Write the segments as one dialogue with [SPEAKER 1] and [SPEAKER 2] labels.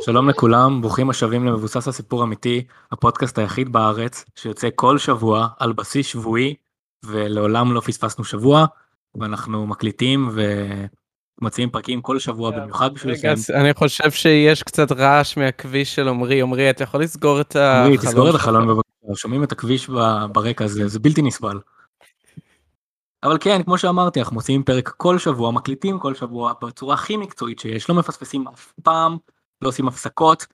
[SPEAKER 1] שלום לכולם, ברוכים השבים למבוסס הסיפור אמיתי, הפודקאסט היחיד בארץ שיוצא כל שבוע על בסיס שבועי, ולעולם לא פספסנו שבוע, ואנחנו מקליטים ומוציאים פרקים כל שבוע במיוחד בשבילכם.
[SPEAKER 2] אני חושב שיש קצת רעש מהכביש של עמרי, עמרי אתה יכול לסגור את החלון?
[SPEAKER 1] עמרי, תסגור את החלון בבקשה, שומעים את הכביש ב- ברקע הזה, זה בלתי נסבל. אבל כן, כמו שאמרתי, אנחנו מוציאים פרק כל שבוע, מקליטים כל שבוע בצורה הכי מקצועית שיש, לא מפספסים אף פעם, לא עושים הפסקות,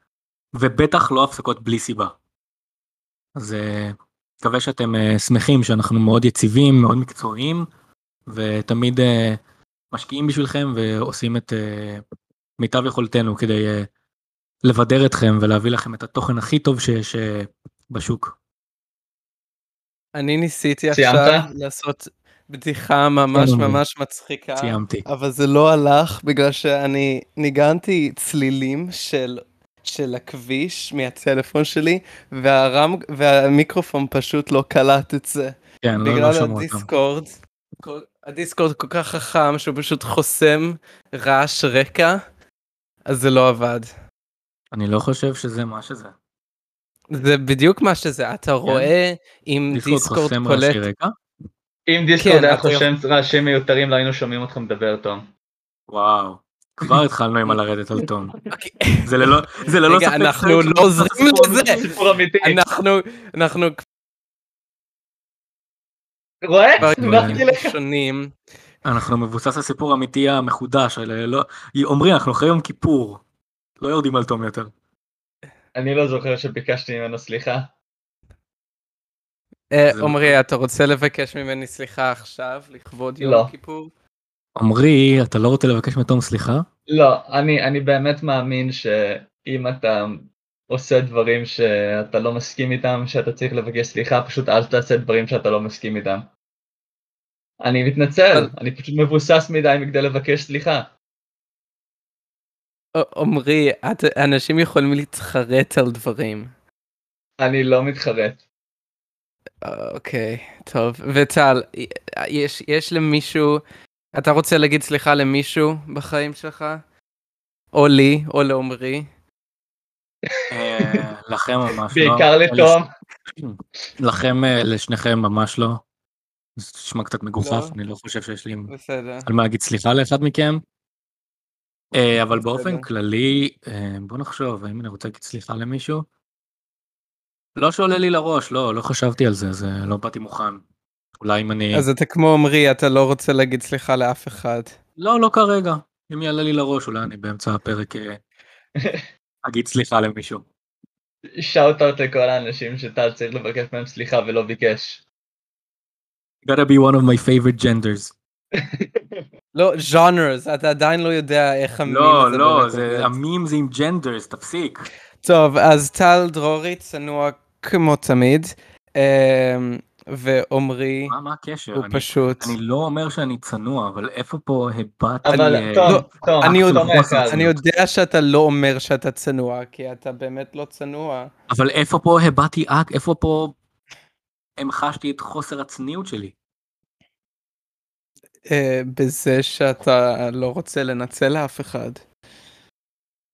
[SPEAKER 1] ובטח לא הפסקות בלי סיבה. אז אה, מקווה שאתם אה, שמחים שאנחנו מאוד יציבים, מאוד מקצועיים, ותמיד אה, משקיעים בשבילכם ועושים את אה, מיטב יכולתנו כדי אה, לבדר אתכם ולהביא לכם את התוכן הכי טוב שיש אה, בשוק.
[SPEAKER 2] אני ניסיתי
[SPEAKER 3] סיימת?
[SPEAKER 2] עכשיו לעשות בדיחה ממש
[SPEAKER 1] כן, עמרי.
[SPEAKER 2] ממש מצחיקה,
[SPEAKER 1] סיימתי.
[SPEAKER 2] אבל זה לא הלך בגלל שאני ניגנתי צלילים של... של הכביש מהטלפון שלי והרם והמיקרופון פשוט לא קלט את זה
[SPEAKER 1] כן, לא, לא
[SPEAKER 2] בגלל
[SPEAKER 1] שמעו אותם.
[SPEAKER 2] הדיסקורד. כל- הדיסקורד כל כך חכם שהוא פשוט חוסם רעש רקע אז זה לא עבד.
[SPEAKER 1] אני לא חושב שזה מה שזה.
[SPEAKER 2] זה בדיוק מה שזה
[SPEAKER 1] כן.
[SPEAKER 2] אתה רואה אם
[SPEAKER 1] דיסקורד
[SPEAKER 2] דיסקורד
[SPEAKER 1] חוסם
[SPEAKER 2] קולט
[SPEAKER 1] רעשי רקע?
[SPEAKER 3] אם דיסקורד
[SPEAKER 2] כן,
[SPEAKER 3] היה
[SPEAKER 2] אתה יכול.
[SPEAKER 3] חושם רעשים מיותרים לא היינו שומעים אותך מדבר תום.
[SPEAKER 1] וואו. כבר התחלנו עם הלרדת על תום.
[SPEAKER 2] אוקיי,
[SPEAKER 1] זה ללא זה ללא
[SPEAKER 2] רגע,
[SPEAKER 1] ספק
[SPEAKER 2] אנחנו
[SPEAKER 1] פרק
[SPEAKER 2] לא עוזרים
[SPEAKER 1] סיפור
[SPEAKER 2] לזה.
[SPEAKER 1] אמיתי.
[SPEAKER 3] סיפור אמיתי.
[SPEAKER 2] אנחנו אנחנו
[SPEAKER 3] רואה?
[SPEAKER 2] כבר
[SPEAKER 3] אמרתי לך.
[SPEAKER 2] שונים
[SPEAKER 1] אנחנו מבוסס הסיפור האמיתי המחודש, על- לא- אומרים אנחנו אחרי יום כיפור, לא יורדים על תום יותר.
[SPEAKER 3] אני לא זוכר שביקשתי ממנו סליחה.
[SPEAKER 2] אה,
[SPEAKER 1] זה- נכון.
[SPEAKER 2] עמרי אתה רוצה לבקש ממני סליחה עכשיו לכבוד
[SPEAKER 3] לא.
[SPEAKER 2] יום כיפור?
[SPEAKER 1] עמרי, אתה לא רוצה לבקש מתום סליחה?
[SPEAKER 3] לא, אני, אני באמת מאמין שאם אתה עושה דברים שאתה לא מסכים איתם, שאתה צריך לבקש סליחה, פשוט אל תעשה דברים שאתה לא מסכים איתם. אני מתנצל,
[SPEAKER 2] אבל-
[SPEAKER 3] אני פשוט מבוסס מדי מכדי לבקש סליחה.
[SPEAKER 2] ע- עמרי את- אנשים יכולים להתחרט על דברים.
[SPEAKER 3] אני לא מתחרט.
[SPEAKER 2] אה, אוקיי טוב וטל י- יש יש למישהו אתה רוצה להגיד סליחה למישהו בחיים שלך? או לי או לעמרי?
[SPEAKER 1] אה, לכם ממש לא.
[SPEAKER 3] בעיקר לתום.
[SPEAKER 1] לכם, אה, לשניכם ממש לא. זה נשמע קצת מגוחך,
[SPEAKER 2] לא.
[SPEAKER 1] אני לא חושב שיש לי
[SPEAKER 2] בסדר.
[SPEAKER 1] על מה להגיד סליחה לאחד מכם. אה, אבל
[SPEAKER 2] לא, בסדר.
[SPEAKER 1] באופן כללי, אה, בוא נחשוב, האם אני רוצה להגיד סליחה למישהו? לא שעולה לי לראש, לא, לא חשבתי על זה, זה לא באתי מוכן. אולי אם אני...
[SPEAKER 2] אז אתה כמו עמרי, אתה לא רוצה להגיד סליחה לאף אחד.
[SPEAKER 1] לא, לא כרגע. אם יעלה לי לראש, אולי אני באמצע הפרק אה, אגיד סליחה למישהו.
[SPEAKER 3] שאוט אאוט לכל האנשים שטל צריך לבקש מהם סליחה ולא ביקש.
[SPEAKER 1] gotta be one of my favorite genders.
[SPEAKER 2] לא, genres, אתה עדיין לא יודע איך המיל
[SPEAKER 1] לא,
[SPEAKER 2] הזה
[SPEAKER 1] לא,
[SPEAKER 2] באמת
[SPEAKER 1] זה
[SPEAKER 2] עובד.
[SPEAKER 1] המים זה עם genders, תפסיק.
[SPEAKER 2] טוב, אז טל דרורי צנוע כמו תמיד, אמ, ועומרי
[SPEAKER 1] מה, מה הקשר?
[SPEAKER 2] הוא
[SPEAKER 1] אני-
[SPEAKER 2] פשוט...
[SPEAKER 1] אני לא אומר שאני צנוע, אבל איפה פה הבעת
[SPEAKER 3] אבל
[SPEAKER 1] לי, אה,
[SPEAKER 3] תום,
[SPEAKER 2] לא,
[SPEAKER 3] תום,
[SPEAKER 2] אני
[SPEAKER 3] תום
[SPEAKER 2] יודע-
[SPEAKER 3] היקר.
[SPEAKER 2] אני יודע שאתה לא אומר שאתה צנוע, כי אתה באמת לא צנוע.
[SPEAKER 1] אבל איפה פה הבעתי אק, איפה פה המחשתי את חוסר הצניעות שלי?
[SPEAKER 2] אה, בזה שאתה לא רוצה לנצל אף אחד.
[SPEAKER 1] אה,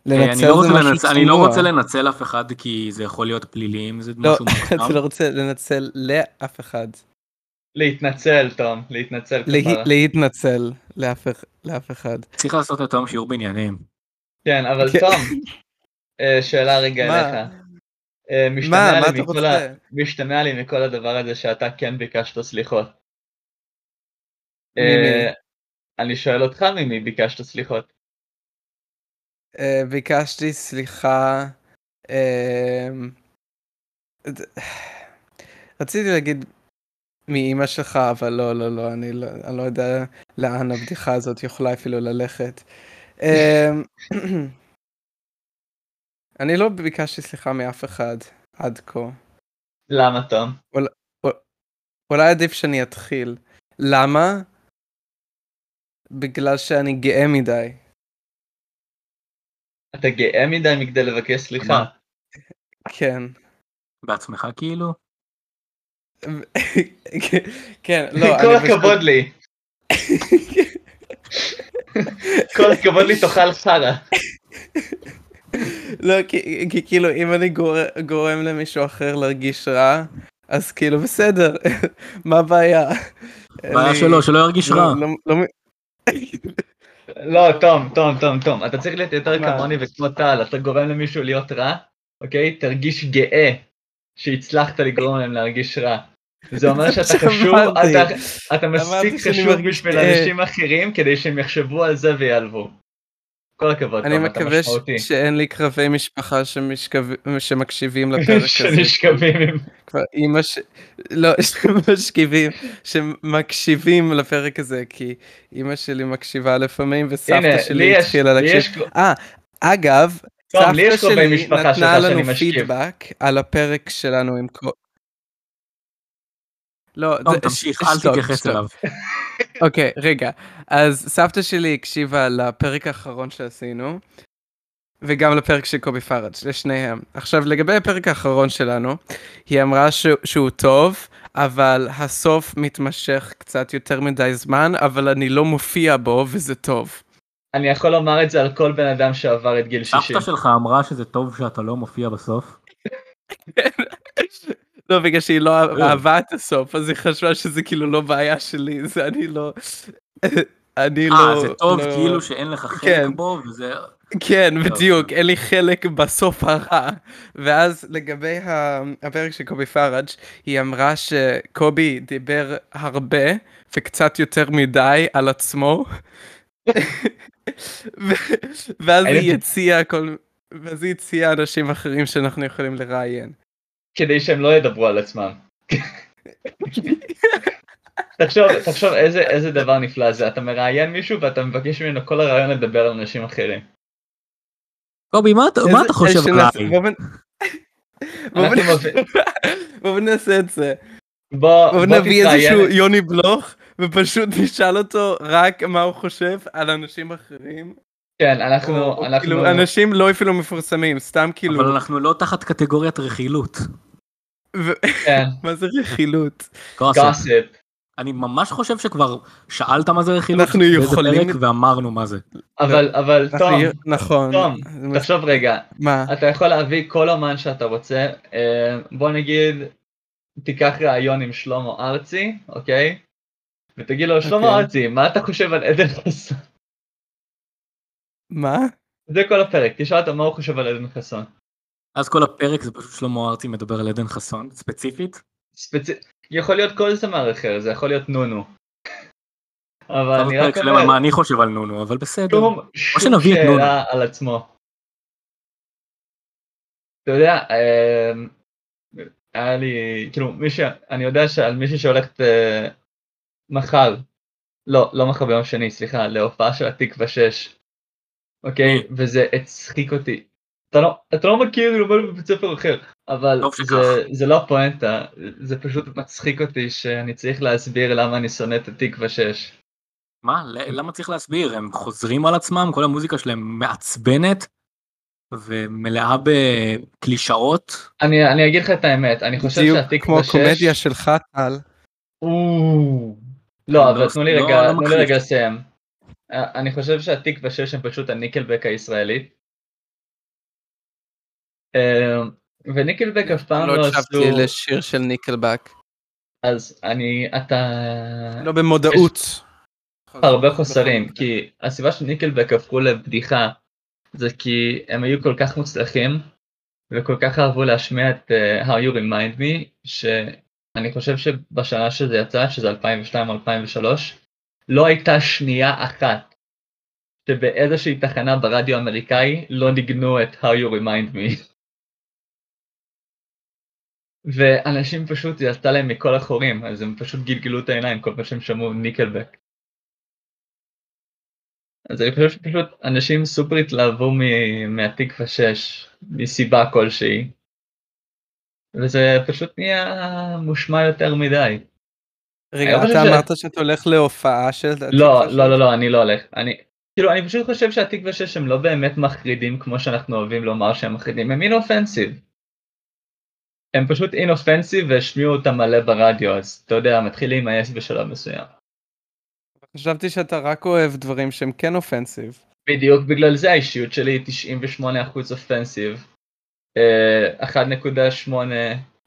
[SPEAKER 2] לנצל
[SPEAKER 1] אני
[SPEAKER 2] זה
[SPEAKER 1] לא רוצה
[SPEAKER 2] משהו
[SPEAKER 1] לנצ- אני לא
[SPEAKER 2] צנוע.
[SPEAKER 1] רוצה לנצל אף אחד כי זה יכול להיות פלילי אם זה
[SPEAKER 2] לא,
[SPEAKER 1] משהו
[SPEAKER 2] אתה
[SPEAKER 1] מוסכם.
[SPEAKER 2] לא רוצה לנצל לאף אחד.
[SPEAKER 3] להתנצל, תום, להתנצל. כפרה.
[SPEAKER 2] לה- להתנצל לאף אח- לאף אחד.
[SPEAKER 1] צריך לעשות לתום שיעור בעניינים.
[SPEAKER 3] כן, אבל
[SPEAKER 2] כן.
[SPEAKER 3] תום, אה, שאלה רגע
[SPEAKER 2] מה?
[SPEAKER 3] אליך. אה,
[SPEAKER 2] מה,
[SPEAKER 3] משתמע
[SPEAKER 2] מה
[SPEAKER 3] לי
[SPEAKER 2] אתה
[SPEAKER 3] מכל ה-
[SPEAKER 2] רוצה?
[SPEAKER 3] משתמע לי מכל הדבר הזה שאתה כן ביקשת סליחות.
[SPEAKER 2] ממי?
[SPEAKER 3] אה, אני שואל אותך ממי ביקשת סליחות.
[SPEAKER 2] אה, ביקשתי סליחה. אמ, ד- רציתי להגיד מאימא שלך, אבל לא, לא, לא, אני לא, אני לא יודע לאן הבדיחה הזאת יכולה אפילו ללכת. אמ, אני לא ביקשתי סליחה מאף אחד עד כה.
[SPEAKER 3] למה תום?
[SPEAKER 2] אולי עדיף שאני אתחיל. למה? בגלל שאני גאה מדי.
[SPEAKER 3] אתה גאה מדי מכדי לבקש סליחה.
[SPEAKER 1] מה?
[SPEAKER 2] כן.
[SPEAKER 1] בעצמך כאילו?
[SPEAKER 2] אה, כן, לא,
[SPEAKER 3] כל הכבוד לי, כל הכבוד לי תאכל חרא.
[SPEAKER 2] לא, כי, כי כאילו אם אני גור, גורם למישהו אחר להרגיש רע, אז כאילו בסדר, מה הבעיה?
[SPEAKER 1] בעיה
[SPEAKER 2] אני-
[SPEAKER 1] שלו, שלא ירגיש רע.
[SPEAKER 2] אה, לא- לא- לא מ-
[SPEAKER 3] לא, תום, תום, תום, תום, אתה צריך להיות יותר
[SPEAKER 2] מה?
[SPEAKER 3] כמוני וכמו טל, אתה גורם למישהו להיות רע, אוקיי? תרגיש גאה שהצלחת לגרום להם להרגיש רע. זה אומר
[SPEAKER 2] זה
[SPEAKER 3] שאתה
[SPEAKER 2] מה
[SPEAKER 3] חשוב,
[SPEAKER 2] שאמרתי.
[SPEAKER 3] אתה, אתה
[SPEAKER 2] אמרתי
[SPEAKER 3] מספיק
[SPEAKER 2] שאני
[SPEAKER 3] חשוב
[SPEAKER 2] מרגיש
[SPEAKER 3] בשביל
[SPEAKER 2] גאה.
[SPEAKER 3] אנשים אחרים כדי שהם יחשבו על זה ויעלבו. כל הכבוד,
[SPEAKER 2] אני
[SPEAKER 3] תום, אתה
[SPEAKER 2] מקווה ש-
[SPEAKER 3] משמעותי.
[SPEAKER 2] שאין לי קרבי משפחה שמשכב- שמקשיבים לפרק הזה.
[SPEAKER 3] שנשכבים עם...
[SPEAKER 2] כבר אימא ש... לא, שמשכיבים, שמקשיבים לפרק הזה, כי אימא שלי מקשיבה לפעמים וסבתא
[SPEAKER 3] הנה, לי
[SPEAKER 2] שלי
[SPEAKER 3] יש,
[SPEAKER 2] התחילה
[SPEAKER 3] לי
[SPEAKER 2] להקשיב.
[SPEAKER 3] יש, קר-
[SPEAKER 2] אה, אגב,
[SPEAKER 3] טוב, לי
[SPEAKER 2] סבתא
[SPEAKER 3] יש קרובי
[SPEAKER 2] שלי
[SPEAKER 3] משפחה שלך
[SPEAKER 2] נתנה
[SPEAKER 3] שאני
[SPEAKER 2] לנו
[SPEAKER 3] משכיב.
[SPEAKER 2] פידבק על הפרק שלנו עם קו... לא,
[SPEAKER 1] טוב,
[SPEAKER 2] זה-
[SPEAKER 1] תמשיך,
[SPEAKER 2] ש-
[SPEAKER 1] אל
[SPEAKER 2] שתוק,
[SPEAKER 1] תתייחס
[SPEAKER 2] שתוק.
[SPEAKER 1] אליו.
[SPEAKER 2] אוקיי, רגע. אז סבתא שלי הקשיבה לפרק האחרון שעשינו, וגם לפרק של קובי פראג', לשניהם. עכשיו, לגבי הפרק האחרון שלנו, היא אמרה ש... שהוא טוב, אבל הסוף מתמשך קצת יותר מדי זמן, אבל אני לא מופיע בו, וזה טוב.
[SPEAKER 3] אני יכול לומר את זה על כל בן אדם שעבר את גיל 60.
[SPEAKER 1] סבתא שלך אמרה שזה טוב שאתה לא מופיע בסוף.
[SPEAKER 2] לא, בגלל שהיא לא אה- אהבה את הסוף, אז היא חשבה שזה כאילו לא בעיה שלי, זה אני לא... אני לא...
[SPEAKER 1] אה, זה טוב
[SPEAKER 2] לא-
[SPEAKER 1] כאילו שאין לך חלק
[SPEAKER 2] כן.
[SPEAKER 1] בו, וזה...
[SPEAKER 2] כן,
[SPEAKER 1] טוב.
[SPEAKER 2] בדיוק, אין לי חלק בסוף הרע. ואז לגבי ה- הפרק של קובי פראג', היא אמרה שקובי דיבר הרבה וקצת יותר מדי על עצמו. ו- ואז
[SPEAKER 3] אני-
[SPEAKER 2] היא הציעה כל... ואז היא הציעה אנשים אחרים שאנחנו יכולים לראיין.
[SPEAKER 3] כדי שהם לא ידברו על עצמם. תחשוב, תחשוב איזה, איזה דבר נפלא זה, אתה מראיין מישהו ואתה מבקש ממנו כל הרעיון לדבר על אנשים אחרים.
[SPEAKER 1] קובי, מה אתה- מה
[SPEAKER 2] איזה-
[SPEAKER 1] אתה חושב
[SPEAKER 2] שנעשה-
[SPEAKER 1] עליי?
[SPEAKER 2] בוא נ- בוא
[SPEAKER 3] אנחנו
[SPEAKER 2] נ-
[SPEAKER 3] מבין-
[SPEAKER 2] בוא נעשה את זה.
[SPEAKER 3] בוא, בוא
[SPEAKER 2] בוא נביא איזשהו
[SPEAKER 3] תתראיין,
[SPEAKER 2] יוני בלוך ופשוט נשאל אותו רק מה הוא חושב על אנשים אחרים.
[SPEAKER 3] כן, אנחנו,
[SPEAKER 2] או כאילו
[SPEAKER 3] אנחנו,
[SPEAKER 2] אנשים לא אפילו מפורסמים, סתם כאילו,
[SPEAKER 1] אבל אנחנו לא תחת קטגוריית רכילות.
[SPEAKER 2] ו-
[SPEAKER 3] כן,
[SPEAKER 2] מה זה רכילות?
[SPEAKER 1] גוסס.
[SPEAKER 3] גאספ,
[SPEAKER 1] אני ממש חושב שכבר שאלת מה זה רכילות.
[SPEAKER 2] אנחנו
[SPEAKER 1] באיזה
[SPEAKER 2] יכולים-
[SPEAKER 1] פרק ואמרנו מה זה.
[SPEAKER 3] אבל, אבל תום,
[SPEAKER 2] אנחנו- נכון.
[SPEAKER 3] תום,
[SPEAKER 2] מה-
[SPEAKER 3] תחשוב רגע,
[SPEAKER 2] מה?
[SPEAKER 3] אתה יכול להביא כל אומן שאתה רוצה, אה, בוא נגיד, תיקח ראיון עם שלמה ארצי, אוקיי? ותגיד לו, שלמה
[SPEAKER 2] אוקיי.
[SPEAKER 3] ארצי, מה אתה חושב על עדן חסון?
[SPEAKER 2] מה?
[SPEAKER 3] זה כל הפרק, תשאל אותו מה הוא חושב על עדן חסון.
[SPEAKER 1] אז כל הפרק זה פשוט שלמה ארצי מדבר על עדן חסון, ספציפית.
[SPEAKER 3] ספצ... יכול להיות כל זמר אחר, זה יכול להיות נונו. אבל
[SPEAKER 1] אבל
[SPEAKER 3] אני רק
[SPEAKER 1] פרק שלם על
[SPEAKER 3] אומר,
[SPEAKER 1] מה אני חושב על נונו, אבל בסדר.
[SPEAKER 3] שום, שום
[SPEAKER 1] שנביא את נונו.
[SPEAKER 3] שאלה על עצמו. אתה יודע, אמ, היה לי, כאילו, מי ש... אני יודע שעל מישהי שהולכת אה, מחר, לא, לא מחר ביום שני, סליחה, להופעה של התקווה 6, אוקיי?
[SPEAKER 1] Mm.
[SPEAKER 3] וזה הצחיק אותי. אתה לא, אתה לא מכיר, אני לומד בבית ספר אחר, אבל
[SPEAKER 1] טוב שכך.
[SPEAKER 3] זה, זה לא הפואנטה, זה פשוט מצחיק אותי שאני צריך להסביר למה אני שונא את התקווה 6.
[SPEAKER 1] מה? ל- למה צריך להסביר? הם חוזרים על עצמם, כל המוזיקה שלהם מעצבנת ומלאה בקלישאות.
[SPEAKER 3] אני, אני אגיד לך את האמת, אני חושב
[SPEAKER 2] בדיוק כמו
[SPEAKER 3] שהתקווה 6...
[SPEAKER 2] הקומדיה שלך טל.
[SPEAKER 3] או, לא,
[SPEAKER 1] לא,
[SPEAKER 3] אבל תנו לי
[SPEAKER 1] לא,
[SPEAKER 3] רגע,
[SPEAKER 1] לא
[SPEAKER 3] תנו לי
[SPEAKER 1] מכחיש.
[SPEAKER 3] רגע לסיים. אה, אני חושב שהתקווה 6 הם פשוט הניקלבק הישראלי. אה, וניקלבק אף פעם
[SPEAKER 2] לא
[SPEAKER 3] לא
[SPEAKER 2] הקשבתי
[SPEAKER 3] עשו,
[SPEAKER 2] לשיר של ניקלבק.
[SPEAKER 3] אז אני, אתה,
[SPEAKER 2] לא במודעות. נכון,
[SPEAKER 3] הרבה חוסרים, כי הסיבה שניקלבק הפכו לבדיחה זה כי הם היו כל כך מוצלחים וכל כך אהבו להשמיע את אה, How You Remind Me, שאני חושב שבשנה שזה יצא, שזה 2002-2003, לא הייתה שנייה אחת שבאיזושהי תחנה ברדיו האמריקאי לא ניגנו את How You Remind Me. ואנשים פשוט, זה יצא להם מכל החורים, אז הם פשוט גלגלו את העיניים כל פעם שהם שמעו ניקלבק. אז אני חושב שפשוט אנשים סופר התלהבו מ- מהתקווה 6, מסיבה כלשהי. וזה פשוט נהיה מושמע יותר מדי.
[SPEAKER 2] רגע,
[SPEAKER 3] אני חושב
[SPEAKER 2] אתה
[SPEAKER 3] ש-
[SPEAKER 2] אמרת שאתה הולך להופעה של...
[SPEAKER 3] לא, לא, לא, לא, אני לא הולך. אני, כאילו, אני פשוט חושב שהתקווה 6 הם לא באמת מחרידים כמו שאנחנו אוהבים לומר שהם מחרידים, הם אינאופנסיב. הם פשוט אינאופנסיב והשמיעו אותם מלא ברדיו, אז אתה יודע, מתחיל להימאס בשלב מסוים.
[SPEAKER 2] חשבתי שאתה רק אוהב דברים שהם כן אופנסיב.
[SPEAKER 3] בדיוק בגלל זה האישיות שלי היא 98% אופנסיב, אה, 1.8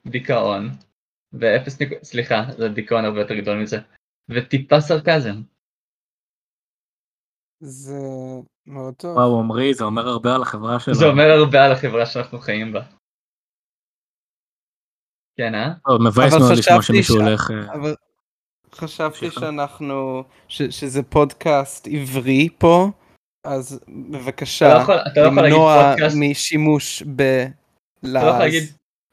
[SPEAKER 3] דיכאון, ו-0, סליחה, זה דיכאון הרבה יותר גדול מזה, וטיפה סרקזם.
[SPEAKER 2] זה מאוד טוב.
[SPEAKER 1] וואו עמרי זה אומר הרבה על החברה שלנו.
[SPEAKER 3] זה לא. אומר הרבה על החברה שאנחנו חיים בה. כן, אה?
[SPEAKER 1] טוב, מבאס
[SPEAKER 2] אבל
[SPEAKER 1] מאוד לשמוע
[SPEAKER 2] חשבתי
[SPEAKER 1] שמישהו
[SPEAKER 2] ש-
[SPEAKER 1] הולך... אה,
[SPEAKER 2] אבל חשבתי
[SPEAKER 1] סליחה.
[SPEAKER 2] שאנחנו, ש, שזה פודקאסט עברי פה, אז בבקשה,
[SPEAKER 3] אתה לא יכול- אתה לא יכול להגיד
[SPEAKER 2] למנוע
[SPEAKER 3] פודקאסט,
[SPEAKER 2] משימוש
[SPEAKER 3] אתה לא יכול
[SPEAKER 2] בלעז.
[SPEAKER 3] להגיד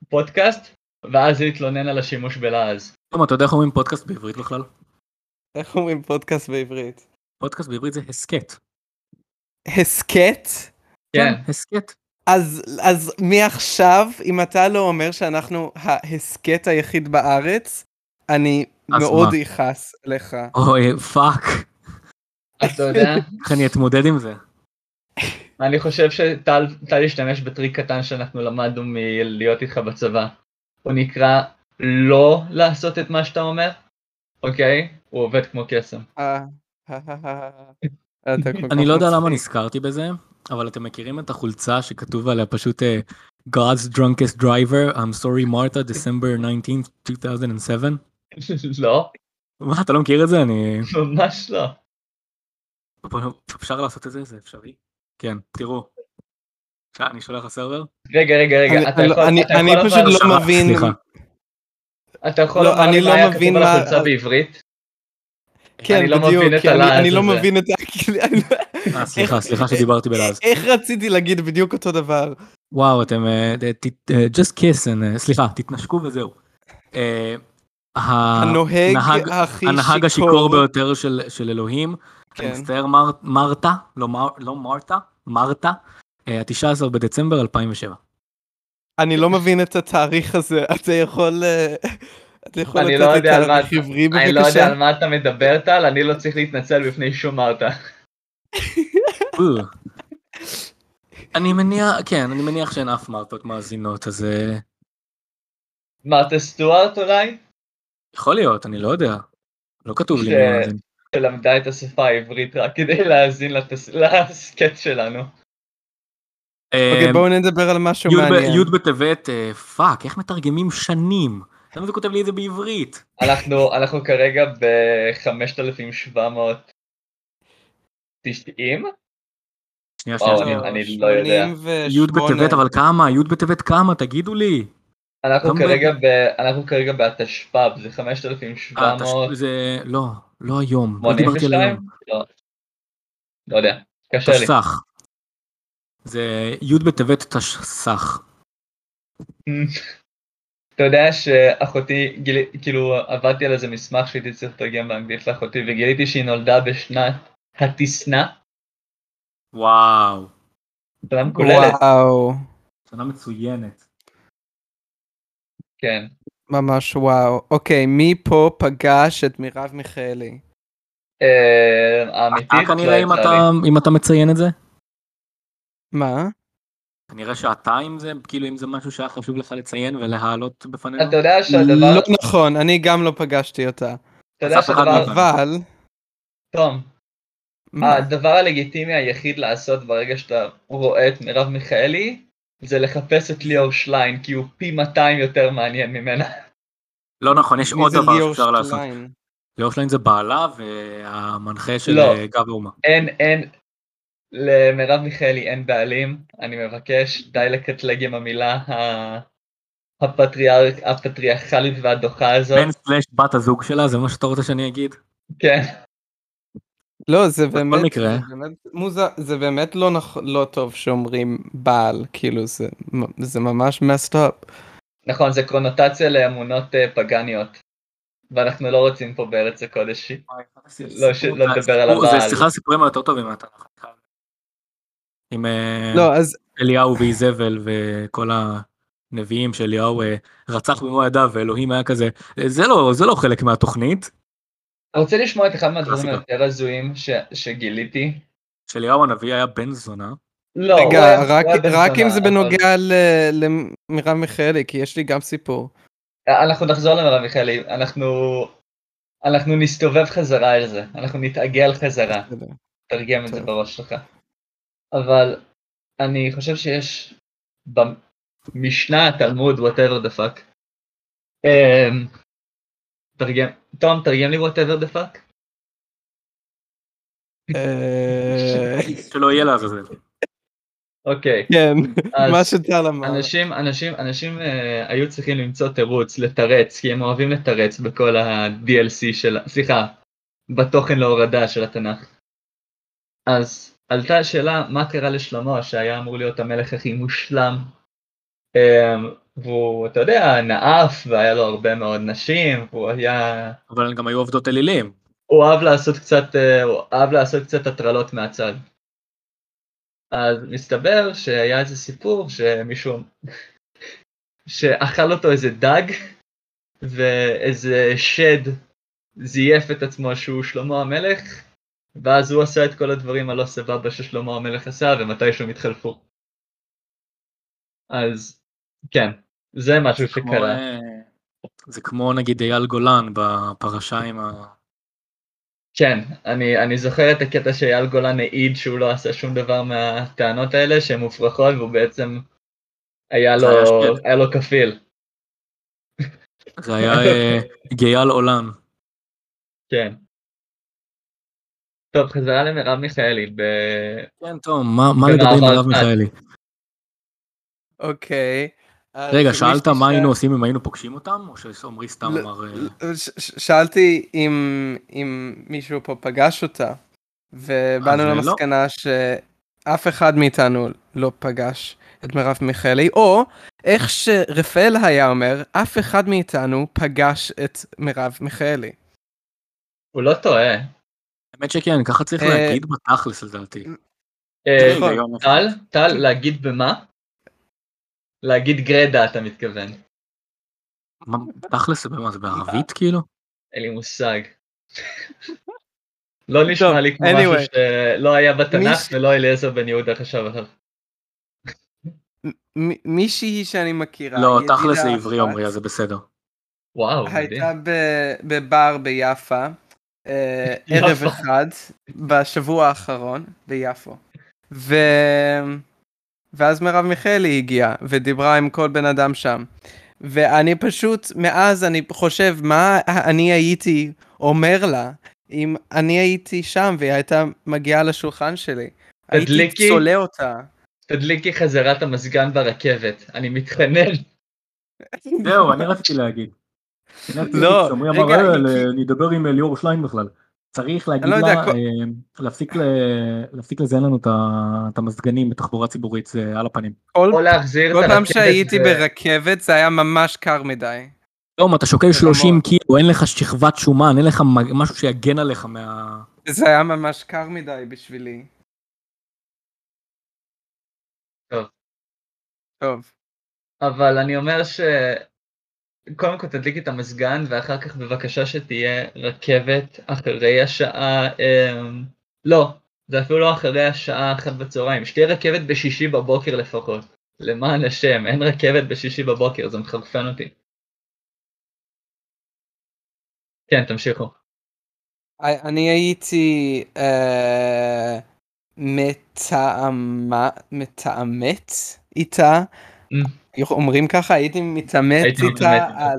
[SPEAKER 3] פודקאסט, ואז להתלונן על השימוש בלעז.
[SPEAKER 1] תום, אתה יודע איך אומרים פודקאסט בעברית בכלל?
[SPEAKER 2] איך אומרים פודקאסט בעברית?
[SPEAKER 1] פודקאסט בעברית זה הסכת.
[SPEAKER 2] הסכת?
[SPEAKER 3] כן,
[SPEAKER 1] הסכת.
[SPEAKER 2] אז, אז מעכשיו, אם אתה לא אומר שאנחנו ההסכת היחיד בארץ, אני
[SPEAKER 1] אז
[SPEAKER 2] מאוד
[SPEAKER 1] מה?
[SPEAKER 2] אכעס אה, לך.
[SPEAKER 1] אוי, פאק.
[SPEAKER 3] אתה יודע,
[SPEAKER 1] איך אני אתמודד עם זה?
[SPEAKER 3] אני חושב שטל טל השתמש בטריק קטן שאנחנו למדנו מלהיות איתך בצבא. הוא נקרא לא לעשות את מה שאתה אומר, אוקיי? הוא עובד כמו קסם.
[SPEAKER 2] אה, אה, אה, אה, אה. אתה כל
[SPEAKER 1] אני
[SPEAKER 2] כך
[SPEAKER 1] לא יודע
[SPEAKER 2] מצחיק.
[SPEAKER 1] למה נזכרתי בזה, אבל אתם מכירים את החולצה שכתוב עליה פשוט אה, God's drunkest driver, I'm sorry Martha, December 19th, 2007?
[SPEAKER 3] לא,
[SPEAKER 1] מה, אתה לא מכיר את זה? אני...
[SPEAKER 3] ממש לא.
[SPEAKER 1] אפשר לעשות את זה? זה אפשרי? כן, תראו. אה, אני שולח לסרבר?
[SPEAKER 3] רגע, רגע, רגע,
[SPEAKER 2] אני-
[SPEAKER 3] אתה
[SPEAKER 2] אני-
[SPEAKER 3] יכול...
[SPEAKER 2] אני-
[SPEAKER 3] אתה יכול
[SPEAKER 2] אני
[SPEAKER 3] אבל-
[SPEAKER 2] פשוט לא
[SPEAKER 1] שרק,
[SPEAKER 2] מבין-
[SPEAKER 1] סליחה.
[SPEAKER 3] אתה יכול
[SPEAKER 2] לא,
[SPEAKER 3] לומר
[SPEAKER 2] אני
[SPEAKER 3] לי
[SPEAKER 2] לא
[SPEAKER 3] מה היה
[SPEAKER 2] מבין
[SPEAKER 3] כתוב על
[SPEAKER 2] מה-
[SPEAKER 3] החולצה בעברית?
[SPEAKER 2] כן,
[SPEAKER 3] אני לא
[SPEAKER 2] בדיוק,
[SPEAKER 3] מבין את
[SPEAKER 2] כי אני-
[SPEAKER 3] הלעז
[SPEAKER 2] אני לא
[SPEAKER 3] הזה.
[SPEAKER 2] מבין את ה...
[SPEAKER 1] אה, סליחה, סליחה שדיברתי בלעז.
[SPEAKER 2] איך רציתי להגיד בדיוק אותו דבר?
[SPEAKER 1] וואו אתם אה, ת- ת- אה, just kiss and אה, סליחה תתנשקו וזהו. אה, ה-
[SPEAKER 2] הנוהג
[SPEAKER 1] אה, הנהג-
[SPEAKER 2] הכי
[SPEAKER 1] הנהג השיכור ביותר של של אלוהים.
[SPEAKER 2] כן.
[SPEAKER 1] אני מצטער מר- מרתה לא מר- לא מרתה מרתה. ה-19 בדצמבר 2007.
[SPEAKER 2] אני לא מבין את התאריך הזה, אתה יכול... אה, אתה יכול
[SPEAKER 3] אני
[SPEAKER 2] לתת
[SPEAKER 3] לא
[SPEAKER 2] לי
[SPEAKER 3] יודע על מה
[SPEAKER 2] תאריך
[SPEAKER 3] אתה-
[SPEAKER 2] עברי
[SPEAKER 3] אני לא יודע
[SPEAKER 2] בבקשה?
[SPEAKER 3] על מה אתה מדבר טל, אני לא צריך להתנצל בפני שום מרתה.
[SPEAKER 1] אה. אני מניח כן אני מניח שאין אף מרתות מאזינות אז אה,
[SPEAKER 3] מרתה סטוארט אולי?
[SPEAKER 1] יכול להיות אני לא יודע. לא כתוב לי
[SPEAKER 3] ש-
[SPEAKER 1] מי מאזין.
[SPEAKER 3] שלמדה את השפה העברית רק כדי להאזין לתס- לסקט שלנו.
[SPEAKER 2] אוקיי,
[SPEAKER 1] אה,
[SPEAKER 2] בואו נדבר על משהו
[SPEAKER 1] י' ב-
[SPEAKER 2] מעניין.
[SPEAKER 1] י' בטבת אה, פאק איך מתרגמים שנים. למה זה כותב לי את זה בעברית?
[SPEAKER 3] אנחנו, אנחנו כרגע ב-5790?
[SPEAKER 1] שנייה
[SPEAKER 3] וואו,
[SPEAKER 1] שנייה שנייה.
[SPEAKER 2] אה,
[SPEAKER 3] אני לא יודע.
[SPEAKER 1] י' בטבת אבל כמה? י' בטבת כמה? תגידו לי.
[SPEAKER 3] אנחנו
[SPEAKER 1] גם
[SPEAKER 3] כרגע ב... אנחנו כרגע בתשפ"ב, זה 5700...
[SPEAKER 1] אה, אתה ש- זה... לא, לא היום. לא דיברתי על
[SPEAKER 3] 82?
[SPEAKER 1] היום.
[SPEAKER 3] לא. לא יודע, קשה לי.
[SPEAKER 1] תשס"ח. זה י' בטבת תשס"ח.
[SPEAKER 3] אתה יודע שאחותי, גיל... כאילו עבדתי על איזה מסמך שהייתי צריך לתרגם באנגלית לאחותי וגיליתי שהיא נולדה בשנת התשנ"א,
[SPEAKER 1] וואו.
[SPEAKER 3] שנה מקוללת,
[SPEAKER 2] וואו,
[SPEAKER 1] שנה מצוינת.
[SPEAKER 3] כן.
[SPEAKER 2] ממש וואו. אוקיי, מי פה פגש את מרב מיכאלי?
[SPEAKER 3] אה,
[SPEAKER 1] אתה
[SPEAKER 3] האמיתית, לא
[SPEAKER 1] כנראה אם
[SPEAKER 3] יצא לי.
[SPEAKER 1] אתה- אם אתה מציין את זה?
[SPEAKER 2] מה?
[SPEAKER 1] כנראה שאתה עם זה, כאילו אם זה משהו שהיה חשוב לך לציין ולהעלות בפנינו?
[SPEAKER 3] אתה יודע שהדבר,
[SPEAKER 2] לא נכון, אני גם לא פגשתי אותה.
[SPEAKER 3] אתה יודע
[SPEAKER 1] אז אף אחד לא
[SPEAKER 3] שהדבר,
[SPEAKER 1] הבנתי.
[SPEAKER 2] אבל...
[SPEAKER 3] תום, אה,
[SPEAKER 2] מה?
[SPEAKER 3] הדבר הלגיטימי היחיד לעשות ברגע שאתה רואה את מרב מיכאלי, זה לחפש את ליאור שליין, כי הוא פי 200 יותר מעניין ממנה.
[SPEAKER 1] לא נכון, יש
[SPEAKER 2] מי
[SPEAKER 1] עוד
[SPEAKER 2] זה
[SPEAKER 1] דבר
[SPEAKER 2] ליאור
[SPEAKER 1] שאפשר לעשות.
[SPEAKER 2] שטיין?
[SPEAKER 1] ליאור שליין זה בעלה והמנחה של
[SPEAKER 3] לא.
[SPEAKER 1] אה, גב האומה.
[SPEAKER 3] אין, אין, למרב מיכאלי אין בעלים, אני מבקש, די לקטלג עם המילה ה- הפטריאר- הפטריארכלית והדוחה
[SPEAKER 2] לא.
[SPEAKER 3] הזאת,
[SPEAKER 1] בן סלש בת הזוג שלה, זה מה שאתה רוצה שאני אגיד?
[SPEAKER 3] כן.
[SPEAKER 2] לא, זה באמת...
[SPEAKER 1] מקרה.
[SPEAKER 2] זה באמת מוזר, זה באמת לא נכון, לא טוב שאומרים בעל, כאילו זה, זה ממש messed up.
[SPEAKER 3] נכון, זה קונוטציה לאמונות אה, פגניות, ואנחנו לא רוצים פה בארץ הקודש. לא, ש- לא נדבר על
[SPEAKER 1] הסיפור-
[SPEAKER 3] הבעל.
[SPEAKER 1] זה סליחה הסיפורים היותר טובים מהתנ"ך. אני חייב. עם אה,
[SPEAKER 2] לא, אז
[SPEAKER 1] אליהו ואיזבל וכל הנביאים שאליהו אה, רצח במו ידיו ואלוהים היה כזה "אה, זה לא זה לא חלק מהתוכנית
[SPEAKER 3] אני רוצה לשמוע את אחד מהדברים
[SPEAKER 1] קלאסיקה.
[SPEAKER 3] היותר הזויים ש- שגיליתי.
[SPEAKER 1] שאליהו הנביא היה בן זונה
[SPEAKER 3] לא, הוא
[SPEAKER 2] רגע,
[SPEAKER 3] היה- הוא
[SPEAKER 2] רק,
[SPEAKER 3] היה בן
[SPEAKER 2] רק אם
[SPEAKER 3] זונה,
[SPEAKER 2] זה
[SPEAKER 3] אבל-
[SPEAKER 2] בנוגע ל- למרב מיכאלי, כי יש לי גם סיפור.
[SPEAKER 3] אה, אנחנו נחזור למרב מיכאלי, אנחנו... אנחנו נסתובב חזרה על זה, אנחנו נתעגל חזרה, תרגם את זה
[SPEAKER 2] טוב.
[SPEAKER 3] בראש שלך. אבל אני חושב שיש במשנה, תלמוד, whatever the fuck. אמ, תרגם, תום, תרגם לי whatever the fuck.
[SPEAKER 2] אה,
[SPEAKER 1] שלא יהיה לעזאזל.
[SPEAKER 3] אוקיי.
[SPEAKER 2] כן,
[SPEAKER 3] אז
[SPEAKER 2] מה שטל אמר.
[SPEAKER 3] אנשים, אנשים, אנשים אה, היו צריכים למצוא תירוץ, לתרץ, כי הם אוהבים לתרץ בכל ה-DLC של, סליחה, בתוכן להורדה של התנ"ך. אז עלתה השאלה, מה קרה לשלמה שהיה אמור להיות המלך הכי מושלם? אה, והוא, אתה יודע, נאף, והיה לו הרבה מאוד נשים, והוא היה...
[SPEAKER 1] אבל גם היו עובדות אלילים.
[SPEAKER 3] הוא אהב לעשות קצת, אה, הוא אהב לעשות קצת הטרלות מהצד. אז מסתבר שהיה איזה סיפור שמישהו, שאכל אותו איזה דג, ואיזה שד זייף את עצמו שהוא שלמה המלך, ואז הוא עשה את כל הדברים הלא סבבה ששלמה המלך עשה, ומתישהו הם התחלפו. אז כן, זה משהו
[SPEAKER 1] כמו,
[SPEAKER 3] שקרה.
[SPEAKER 1] אה, זה כמו נגיד אייל גולן בפרשה עם ה...
[SPEAKER 3] כן, אני, אני זוכר את הקטע שאייל גולן העיד שהוא לא עשה שום דבר מהטענות האלה שהן מופרכות והוא בעצם היה
[SPEAKER 1] זה
[SPEAKER 3] לו,
[SPEAKER 1] היה שקט.
[SPEAKER 2] כן.
[SPEAKER 3] היה לו כפיל,
[SPEAKER 1] זה היה אה, גייל עולן.
[SPEAKER 3] כן. טוב, חזרה למרב מיכאלי, ב...
[SPEAKER 1] כן, תום, מה- מה
[SPEAKER 3] כן,
[SPEAKER 1] לגבי
[SPEAKER 3] אבל-
[SPEAKER 1] מרב מיכאלי?
[SPEAKER 2] אוקיי. אז
[SPEAKER 1] רגע,
[SPEAKER 2] מישהו
[SPEAKER 1] שאלת מה
[SPEAKER 2] שאל-
[SPEAKER 1] היינו עושים אם היינו פוגשים אותם, או שעמרי סתם
[SPEAKER 2] לא,
[SPEAKER 1] אמר... אה,
[SPEAKER 2] ש- ש- שאלתי אם אם מישהו פה פגש אותה, ובאנו
[SPEAKER 1] אז, אה, לא.
[SPEAKER 2] למסקנה שאף אחד מאיתנו לא פגש את מרב מיכאלי, או איך שרפאל היה אומר, אף אחד מאיתנו פגש את מרב מיכאלי.
[SPEAKER 3] הוא לא טועה.
[SPEAKER 1] האמת שכן, ככה צריך
[SPEAKER 2] אה,
[SPEAKER 1] להגיד בתכלס לדעתי.
[SPEAKER 3] אה,
[SPEAKER 2] נכון.
[SPEAKER 1] היגיון אחד.
[SPEAKER 3] טל, טל, להגיד במה? להגיד גרדה אתה מתכוון,
[SPEAKER 1] מה, תכלס זה במה, זה
[SPEAKER 2] אה,
[SPEAKER 1] בערבית כאילו?
[SPEAKER 3] אין לי מושג. לא נשמע לי כמו
[SPEAKER 2] anyway.
[SPEAKER 3] משהו שלא היה בתנ"ך
[SPEAKER 2] מיש-
[SPEAKER 3] ולא אליעזר בן יהודה חשב עליו.
[SPEAKER 2] מ- מישהי שאני מכירה,
[SPEAKER 1] לא,
[SPEAKER 2] ידידה
[SPEAKER 1] תכלס זה עברי
[SPEAKER 2] אחת,
[SPEAKER 1] עמרי, אז זה בסדר.
[SPEAKER 3] וואו, מדהים.
[SPEAKER 2] הייתה ב- בבר ביפא, אה,
[SPEAKER 3] יפו.
[SPEAKER 2] ערב אחד, בשבוע האחרון, ביפו. ו... ואז מרב מיכאלי הגיעה, ודיברה עם כל בן אדם שם. ואני פשוט, מאז אני חושב, מה אני הייתי אומר לה, אם אני הייתי שם והיא הייתה מגיעה לשולחן שלי. הייתי
[SPEAKER 3] תדליקי.
[SPEAKER 2] צולע אותה.
[SPEAKER 3] תדליקי חזרה את המזגן ברכבת, אני מתחנן.
[SPEAKER 1] זהו, אני רציתי להגיד.
[SPEAKER 2] לא,
[SPEAKER 1] שאומרים,
[SPEAKER 2] רגע,
[SPEAKER 1] "אבל,
[SPEAKER 2] היא-
[SPEAKER 1] אה, אני אדבר עם ליאור שליין בכלל. צריך להגיד
[SPEAKER 2] לא יודע,
[SPEAKER 1] לה,
[SPEAKER 2] כל-
[SPEAKER 1] אה, להפסיק ל- להפסיק לזיין לנו את ה- את המזגנים בתחבורה ציבורית, זה על הפנים.
[SPEAKER 2] כל
[SPEAKER 3] או לא להחזיר את
[SPEAKER 2] כל
[SPEAKER 3] הרכבת.
[SPEAKER 2] פעם שהייתי
[SPEAKER 3] ו-
[SPEAKER 2] ברכבת זה היה ממש קר מדי.
[SPEAKER 1] תום, אתה שוקל
[SPEAKER 2] ברמות.
[SPEAKER 1] 30 קילו, אין לך שכבת שומן, אין לך מג- משהו שיגן עליך מה...
[SPEAKER 2] זה היה ממש קר מדי בשבילי.
[SPEAKER 3] טוב.
[SPEAKER 2] טוב.
[SPEAKER 3] אבל אני אומר ש... קודם כל תדליקי את המזגן, ואחר כך בבקשה שתהיה רכבת אחרי השעה... אמ... לא, זה אפילו לא אחרי השעה אחת בצהריים, שתהיה רכבת בשישי בבוקר לפחות. למען השם, אין רכבת בשישי בבוקר, זה מחרפן אותי. כן, תמשיכו.
[SPEAKER 2] I- אה, אני הייתי אה, מתאמה, מתאמת איתה, אומרים ככה, הייתי מתאמת
[SPEAKER 3] Mm. הייתי
[SPEAKER 2] איתה
[SPEAKER 3] מתאמת.
[SPEAKER 2] על-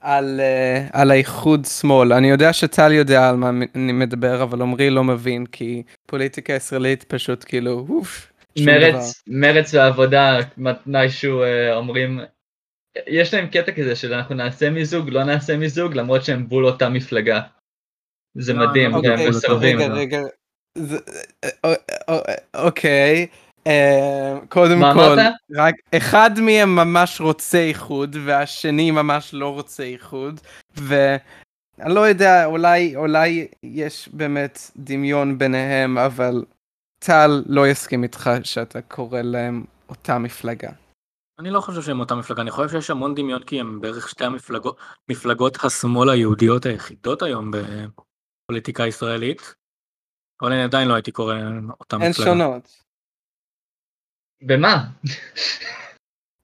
[SPEAKER 2] על, אה, על האיחוד שמאל. אני יודע שטל יודע על מה מ- אני מדבר, אבל עמרי לא מבין, כי פוליטיקה ישראלית פשוט כאילו, אוף, שום דבר.
[SPEAKER 3] מרץ, מרץ והעבודה, מתישהו אה, אומרים, יש להם קטע כזה של אנחנו נעשה מיזוג, לא נעשה מיזוג, למרות שהם בול אותה מפלגה. זה
[SPEAKER 2] אה,
[SPEAKER 1] לא,
[SPEAKER 3] מדהים,
[SPEAKER 1] לא,
[SPEAKER 3] כי
[SPEAKER 1] אוקיי,
[SPEAKER 3] הם כאילו מסרבים.
[SPEAKER 2] רגע, רגע. זה- אה, אה, אה, אוקיי. אה, קודם
[SPEAKER 3] מה
[SPEAKER 2] כל,
[SPEAKER 3] אמרת?
[SPEAKER 2] רק אחד מהם ממש רוצה איחוד, והשני ממש לא רוצה איחוד, ואני לא יודע, אולי, אולי יש באמת דמיון ביניהם, אבל טל לא יסכים איתך שאתה קורא להם אותה מפלגה.
[SPEAKER 1] אני לא חושב שהם אותה מפלגה, אני חושב שיש המון דמיון כי הם בערך שתי המפלגות, מפלגות השמאל היהודיות היחידות היום בפוליטיקה הישראלית, אבל אני עדיין לא הייתי קורא להם אותה
[SPEAKER 2] הן
[SPEAKER 1] מפלגה.
[SPEAKER 2] שונות.
[SPEAKER 3] במה?